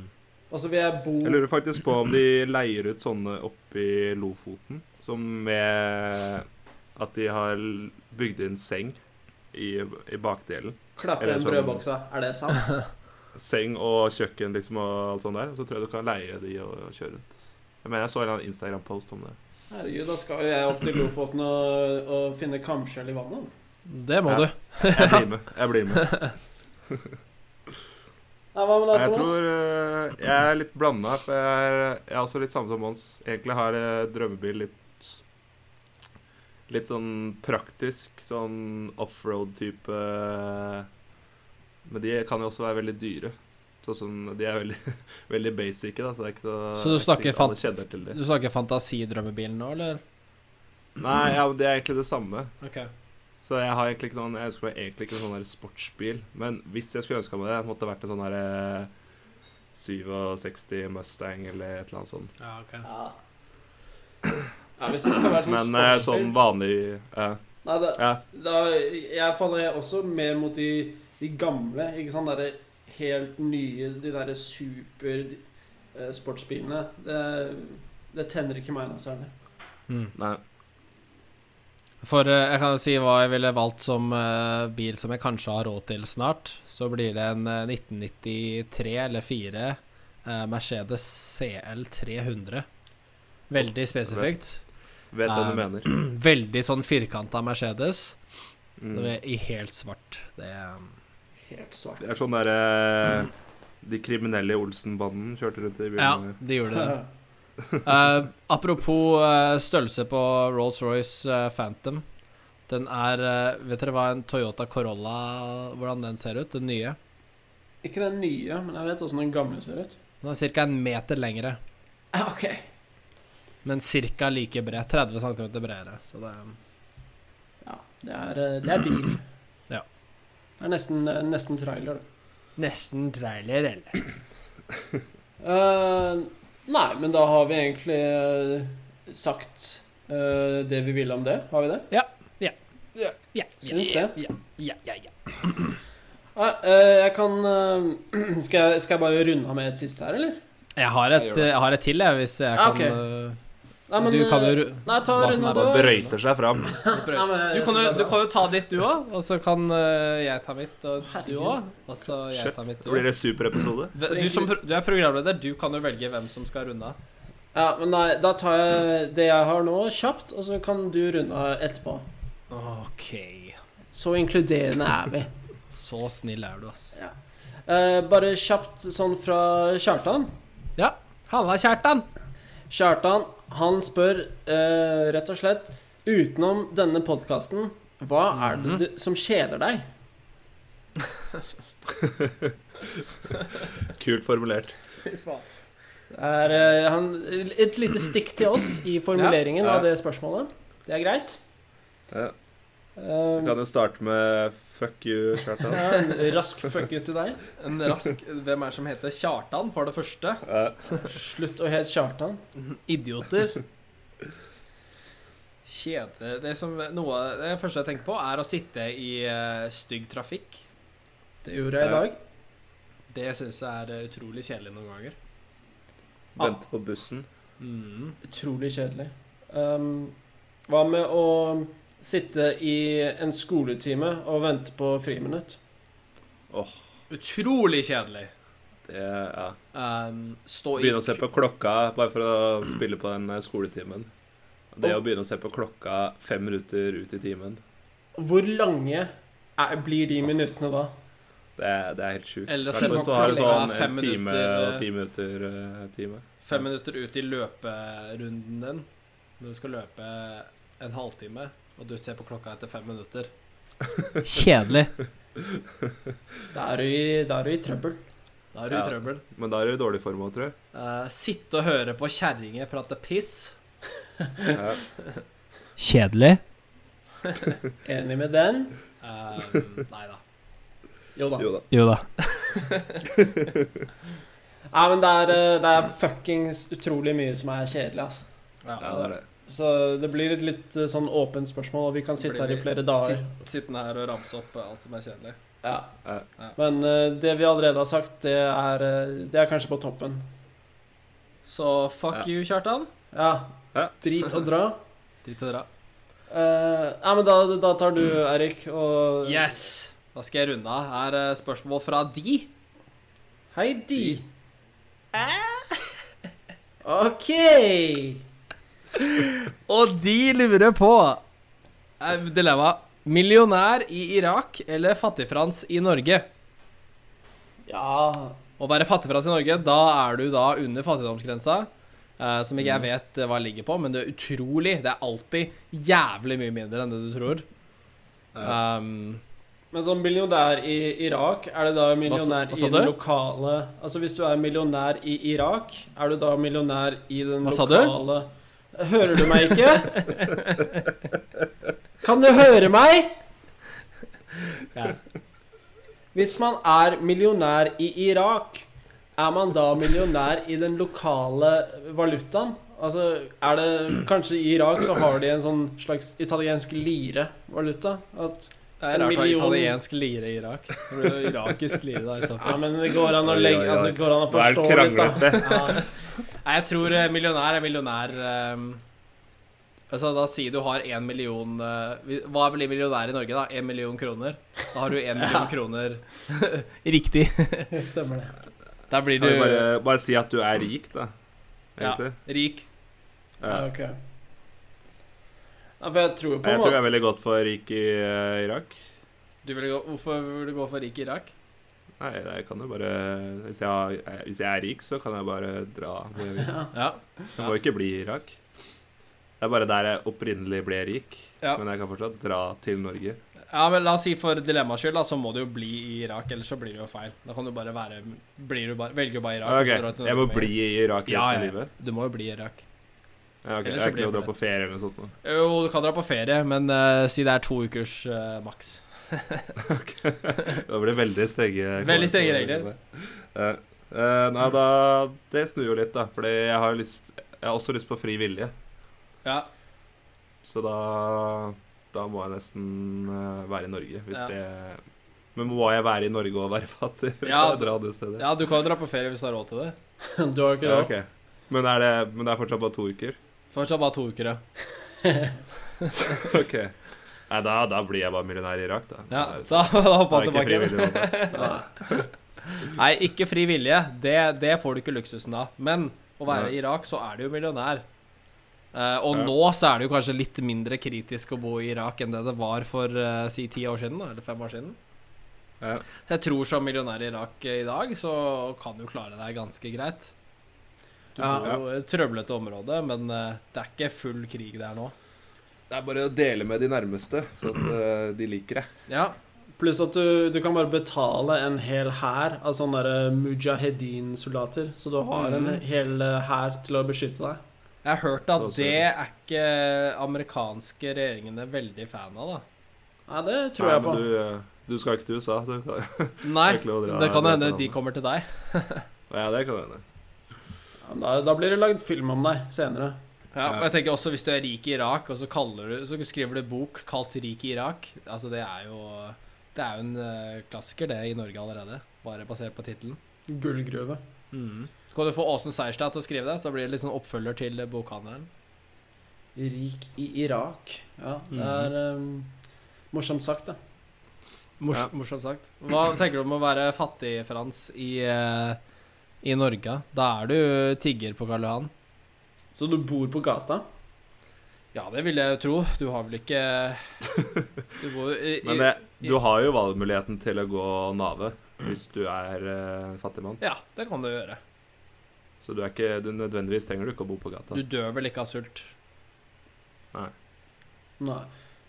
Altså, vi er bo...
Jeg lurer faktisk på om de leier ut sånne oppi Lofoten, som med at de har bygd inn seng i, i bakdelen.
Klappe
eller
en
sånn-
brødbokse. Er det sant?
Seng og kjøkken liksom og alt sånt der. Og så tror jeg du kan leie de og kjøre rundt. Jeg mener jeg så en eller annen Instagram-post om det.
Herregud, da skal jo jeg opp til Lofoten og, og finne kamskjell i vannet.
Det må
Ja.
du.
Jeg blir med. Jeg blir med.
Nei, hva med deg,
Jeg
Thomas?
tror eh, jeg er litt blanda, for jeg er, jeg er også litt samme som Mons. Egentlig har eh, drømmebil litt Litt sånn praktisk, sånn offroad-type Men de kan jo også være veldig dyre. Sånn som De er veldig, *laughs* veldig basic, da, så det er ikke så
Så du snakker
ikke alle
fant-
kjenner til de.
Du snakker fantasidrømmebilen nå, eller?
Nei, ja, men det er egentlig det samme.
Ok.
Så jeg har egentlig ikke noen Jeg ønsker meg egentlig ikke en sånn der sportsbil. Men hvis jeg skulle ønska meg det, måtte det vært en sånn eh, derre 67 Mustang eller et eller annet sånt.
Ja, ok.
Ja. ja, hvis det skal være sånn
Men eh,
sportsbil-
sånn vanlig eh,
Nei, det,
ja,
da, jeg faller også mer mot de, de gamle, ikke sant? Derre helt nye, de derre super de, eh, sportsbilene. Det, det tenner ikke meg altså. noe særlig.
Mm.
Nei.
For eh, jeg kan jo si hva jeg ville valgt som eh, bil som jeg kanskje har råd til snart. Så blir det en eh, 1993 eller 4 eh, Mercedes CL 300. Veldig spesifikt. *clears throat*
Vet hva
Eh,
du mener.
Veldig sånn firkanta Mercedes.
Mm.
Det er I helt svart. Det um,
Helt svart. *laughs*
Det er sånn derre De kriminelle i Olsen-banden kjørte rundt i
Ja,
byen.
det
*laughs*
gjorde det. Eh, apropos eh, størrelse på Rolls-Royce eh, Phantom. Den er eh, Vet dere hva en Toyota Corolla Hvordan den ser ut? Den nye?
Ikke den nye, men jeg vet åssen den gamle ser ut. Ah,
Den er ca. en meter lengre.
Ja, ok.
men ca. like bred. 30 cm bredere. Så det er
Ja, det er, eh, det er bil. *clears throat*
Ja.
Det er nesten, eh, nesten trailer, det.
nesten trailer, eller?
Eh, nei, men da har vi egentlig eh, sagt eh, det vi ville om det. Har vi det?
Ja,
Syns
ja,
det.
ja, ja, ja, ja.
Nei, eh, jeg kan eh, *clears throat* skal, jeg, skal jeg bare runde av med et siste her, eller?
Jeg har et, jeg har et til, jeg, hvis jeg
Ja,
kan
ok.
øh,
Nei, men,
Du kan
eh,
jo ru-
Nei, ta
hva
runde
som er
av
best.
du.
Brøyter seg fram.
Nei, men eh,
Du
jeg
kan,
synes
jo,
det er
du
bra.
kan jo ta ditt, du òg. Og så kan øh, jeg ta mitt, og du
Herregud.
òg. Og så jeg
Shit.
tar mitt,
Da
du
blir
òg.
det superepisode.
Du, du, som pro- du er programleder, du kan jo velge hvem som skal runde av.
Ja, men nei, da tar jeg det jeg har nå, kjapt, og så kan du runde av etterpå.
OK.
Så inkluderende er
*laughs*
vi.
Så snill er du, ass.
Eh, bare kjapt sånn fra Kjartan.
Halla, Kjartan!
Kjartan, han spør eh, rett og slett Utenom denne podkasten, hva er det
Mhm.
du, som kjeder deg?
Kult formulert.
Det Er, eh, han, et lite stikk til oss i formuleringen
Ja.
av det spørsmålet. Det er greit.
Ja.
Eh,
Vi kan jo starte med fuck you, Kjartan.
ja, en rask fuck you til deg.
En rask Hvem er det som heter Kjartan, for det første?
Ja.
Slutt å hete Kjartan.
Idioter. Kjede det, som, noe, det første jeg tenker på, er å sitte i eh, stygg trafikk.
Det gjorde jeg i
Ja.
dag.
Det syns jeg er eh, utrolig kjedelig noen ganger.
Vente på bussen.
Mm.
Utrolig kjedelig. Ehm, hva med å sitte i en skoletime og vente på friminutt?
Utrolig kjedelig.
Det, ja.
Um, stå i
Begynne å se på klokka bare for å spille på den eh, skoletimen. Det å begynne å se på klokka fem minutter ut i timen,
Hvor lange er, blir de minuttene da?
det er, det er helt sjukt.
Eller
Hvertfall
se på
hvis du har en
klokka
sånn eh,
fem
time
minutter, eh.
og ti minutter eh, time.
fem minutter ut i løperunden din når du skal løpe en halvtime, og du ser på klokka etter fem minutter. Kjedelig.
Da er du i, da er du i trøbbel.
Da er du
Ja.
i trøbbel.
Men da er du i dårlig form òg,
*laughs*
tror jeg.
Eh, sitte og høre på kjerringer prate piss.
Ja.
Kjedelig.
Enig med den?
Eh, nei da.
Jo da.
Jo da.
Jo da.
Nei, men det er, eh, det er fuckings utrolig mye som er kjedelig, altså.
Ja,
Ja, det er det.
Så det blir et litt eh, sånn åpent spørsmål, og vi kan sitte her i flere dager.
Sitt- Sittende her og ramse opp eh, alt som er kjedelig.
Ja.
Ja.
Men eh, det vi allerede har sagt, det er, eh, det er kanskje på toppen.
Så fuck
Ja.
you, Kjartan.
Ja.
Ja.
Drit og dra.
Drit og dra.
Eh, nei, men da, da tar du, Eirik, og
Yes! Da skal jeg runde av. Her er eh, spørsmål fra de.
Hei, de. *laughs* OK.
Og de lurer på eh, Dilemma. Millionær i Irak eller fattigfrans i Norge?
Ja
Å være fattigfrans i Norge, da er du da under fattigdomsgrensa. eh, som ikke jeg vet eh, hva ligger på, men det er utrolig. Det er alltid jævlig mye mindre enn det du tror. Um,
Men som millionær i Irak, er du da millionær
hva sa
i den
du?
lokale Altså, hvis du er millionær i Irak, er du da millionær i den
Hva sa du?
lokale Hører du meg ikke? kan du høre meg?
ja.
Hvis man er millionær i Irak, er man da millionær i den lokale valutaen? Altså, er det Kanskje i Irak så har de en sånn slags italiensk lire-valuta? At
Det er rart å ha
Million.
italiensk lire i Irak. Det blir jo irakisk lire da, i så
Ja,
fall.
men det går an å
Oi,
legge
oi, oi.
Altså, det går an å
Nå er
forstå
det
litt, da.
kranglete.
Ja.
Nei, jeg tror eh, millionær er millionær ehm, Altså, da sier du har én million eh, vi- Hva blir millionær i Norge, da? Én million kroner? Da har du *laughs* én million kroner Riktig.
Stemmer det.
Da blir
Kan
du
vi bare, bare si at du er rik, da.
Ja.
Egentlig.
rik.
Ja.
Ja, ok. Ja, for jeg tror jo på
Jeg
en
tror det
måte
er veldig godt for rik i eh, Irak.
Du vil gå, hvorfor vil du gå for rik i Irak?
Nei, jeg kan jo bare hvis jeg, har, eh, hvis jeg er rik, så kan jeg bare dra hvor jeg vil.
Ja.
Jeg må jo ikke bli i Irak. Det er bare der jeg opprinnelig ble rik.
Ja.
Men jeg kan fortsatt dra til Norge.
ja, men la oss si for dilemmaets skyld, da, så må du jo bli i Irak, ellers så blir det jo feil. Da kan du bare være blir du bare, Velger jo bare Irak. og så
Ah, Ok,
drar du til
Jeg må
Norge med en
bli i Irak resten
Ja, ja,
av
ja.
livet.
gang. Du må jo bli i Irak.
Ja, ok,
Ellers
Jeg
så
har ikke
blir
lov til å
det
dra på ferie eller noe sånt. nå. *laughs*
Jo, du kan dra på ferie, men eh, si det er to ukers eh, maks. *laughs*
Da blir det veldig strenge
*laughs* Veldig strenge regler.
Eh, eh, nei, da Det snur jo litt, da. Fordi jeg har, lyst, jeg har også lyst på fri vilje.
Ja.
Så da Da må jeg nesten eh, være i Norge, hvis
Ja.
det Men må jeg være i Norge og være *laughs* fattig? Kan
Ja.
jeg dra andre steder?
ja, du kan jo dra på ferie hvis du har råd til det.
*laughs* Du har ikke
Ja,
råd.
ok. men, er det, men det er fortsatt bare to uker? *laughs*
Fortsatt bare to uker, ja.
Ok. Nei, da, da blir jeg bare millionær i Irak, da.
ja
Det er-
da, *laughs* da
det
hopper han
er ikke
tilbake.
frivillig *laughs* uansett.
Nei, ikke fri vilje. Det, det får du ikke luksusen av. Men å være i Irak, så er du jo millionær. Eh, og
Ja.
nå så er det jo kanskje litt mindre kritisk å bo i Irak enn det det var for eh, si ti år siden, da, eller fem år siden.
Ja.
Så jeg tror som millionær i Irak eh, i dag, så kan du klare deg ganske greit. Du
Ja.
bor jo i et trøblete område, men eh, det er ikke full krig der nå.
Det er bare å dele med de nærmeste, så at eh, de liker deg.
Ja,
Pluss at du, du kan bare betale en hel hær av sånne der eh, mujahedin-soldater. Så du har en
Mhm.
hel eh, hær til å beskytte deg.
jeg har hørt at
Da ser
det
vi.
er ikke amerikanske regjeringene veldig fan av, da.
Nei, det tror
Nei,
jeg på.
men Du, eh, du skal ikke til USA. Du kan, *laughs*
Nei,
Det er ikke lov å dra-
det kan
dra
hende
til
de
landet.
kommer til deg.
ja, det kan hende.
Ja, men Da, da blir det lagd film om deg senere.
Ja, og jeg tenker også Hvis du er rik i Irak, og så, kaller du, så skriver du bok kalt 'Rik i Irak' Altså Det er jo Det er jo en eh, klassiker, det, i Norge allerede. Bare basert på tittelen.
Gullgruve.
Mm.
Så Kan du få Åsen Seierstad til å skrive det, så blir det litt sånn oppfølger til eh, bokhandelen.
Rik i Irak. Ja, det
Mhm.
er ehm, morsomt sagt, da.
Mors,
Ja.
Morsomt sagt. Hva tenker du om å være fattig-Frans i, eh, i Norge? Da er du tigger på Karl Johan.
Så du bor på gata?
Ja, det vil jeg jo tro. Du har vel ikke
*laughs*
Du bor jo i,
Men
i
det, du har jo valgmuligheten til å gå Nave hvis du er eh, en fattig mann.
Ja, det kan du gjøre.
Så du er ikke, du nødvendigvis trenger du ikke å bo på gata.
Du dør vel ikke av sult.
Nei.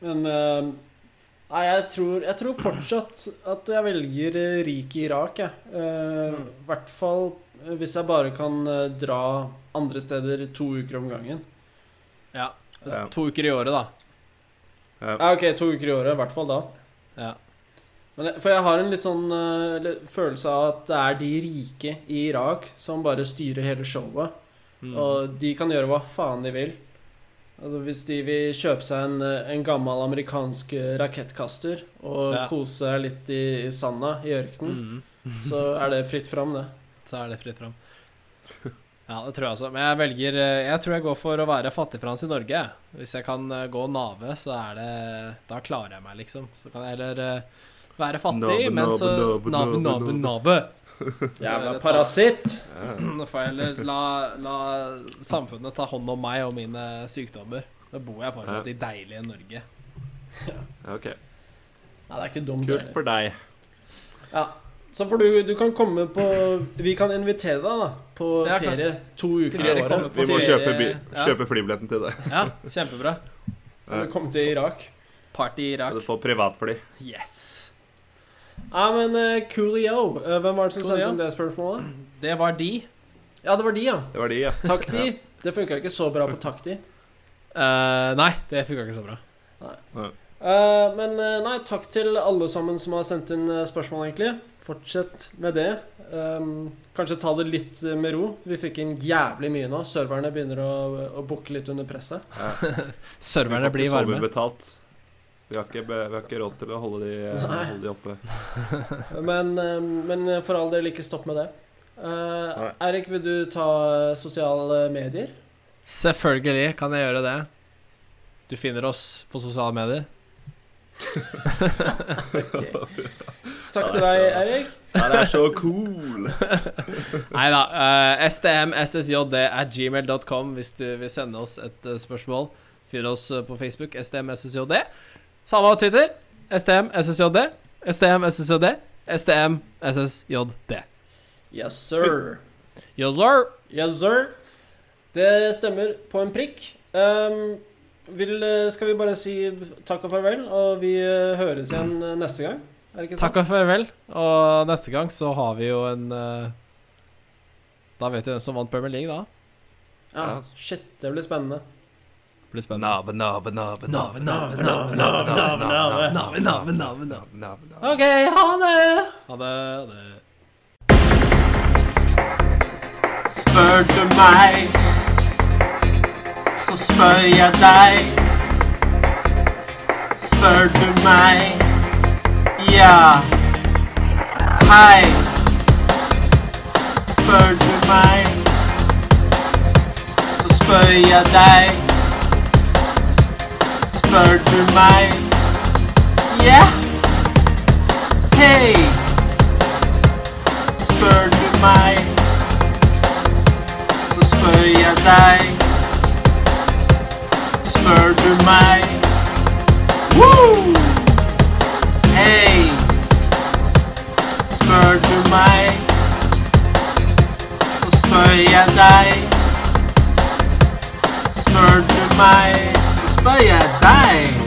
Men ehm, Nei, jeg tror, jeg tror fortsatt at jeg velger eh, rik i Irak, jeg. Eh, I hvert fall eh, hvis jeg bare kan eh, dra andre steder to uker om gangen.
Ja.
Ja.
To uker i året, da.
Ja, ok, to uker i året, i hvert fall da.
Ja.
Men jeg, for jeg har en litt sånn eh, le- følelse av at det er de rike i Irak som bare styrer hele showet.
Mm.
Og de kan gjøre hva faen de vil. Altså, hvis de vil kjøpe seg en, eh, en gammel amerikansk eh, rakettkaster og
Ja.
kose seg litt i, i sanda i ørkenen,
Mm.
så er det fritt fram, *laughs* det.
Så er det fritt fram. *laughs* Ja, det tror jeg også. Men jeg velger eh, Jeg tror jeg går for å være fattigfrans i Norge. jeg. Hvis jeg kan eh, gå Nave, så er det Da klarer jeg meg, liksom. Så kan jeg heller eh, være fattig,
Nave,
men
nave,
så
nave,
Nave,
nave,
nave,
nave.
nave.
Jævla
det tar-
parasitt!
*laughs* Ja.
Nå får jeg heller la, la samfunnet ta hånd om meg og mine eh, sykdommer. Da bor jeg fortsatt i deilige
*laughs*
Norge.
Ja, OK.
Nei, det er ikke dumt.
Kult
heller.
for deg.
Ja. Så får du, du kan komme på Vi kan invitere deg da på
Ja, kan-
ferie to uker i
Dere
året.
kommer på
Vi må
ferie-
kjøpe, bi-
ja.
kjøpe flybilletten til deg.
Ja, kjempebra.
Kan du komme til Irak?
Party i
Du
Irak.
får privatfly.
Yes.
Ja, men eh, Coolio. eh, hvem var det som
Coolio.
sendte inn det spørsmålet?
Det var de.
Ja, det var de, ja.
Det var de, ja.
Takk, de.
*laughs*
Det funka ikke så bra på takk, de.
Eh, nei, det funka ikke så bra.
Eh, men eh, nei, takk til alle sammen som har sendt inn eh, spørsmål, egentlig. Fortsett med det. Ehm, kanskje ta det litt eh, med ro. Vi fikk inn jævlig mye nå. Serverne begynner å, å bukke litt under presset.
Serverne blir varme.
betalt. Vi har, ikke, be- vi har ikke råd til å holde de, holde de oppe.
Men, eh, men for all del, ikke stopp med det. Eh,
Nei.
Eirik, vil du ta eh, sosiale medier?
Selvfølgelig kan jeg gjøre det. Du finner oss på sosiale medier.
Takk til deg, Eirik.
Ja, det er så cool!
Nei da. eh, stmssjd at gmail.com hvis du vil sende oss et eh, spørsmål. Finner oss eh, på Facebook. stmssjd. Samme Twitter. stmssjd. stmssjd. stmssjd.
Yes, sir.
Yo, sir.
Yes, sir. Det stemmer på en prikk. Ehm, vil, eh, skal vi bare si takk og farvel, og vi eh, høres igjen eh, neste gang? Er det ikke sant?
Takk og farvel. Og neste gang så har vi jo en eh, Da vet vi hvem som vant Premier League, da.
Ja,
Ja.
shit, det blir spennende.
Blir spennende.
Nave, nave, nave, nave,
nave, nave, nave, nave, nave.
Nave, nave, nave, nave.
nave, nave.
OK, ha det!
Ha det. Ha det.
Spør du meg, så spør jeg deg. Spør du meg, ja, hei. Spør du meg, så spør jeg deg. Spør du meg, ja, hei. Spør du meg så spør jeg deg. Spør du meg? Woo! Hei! Spør du meg, så spør jeg deg. Spør du meg, så spør jeg deg.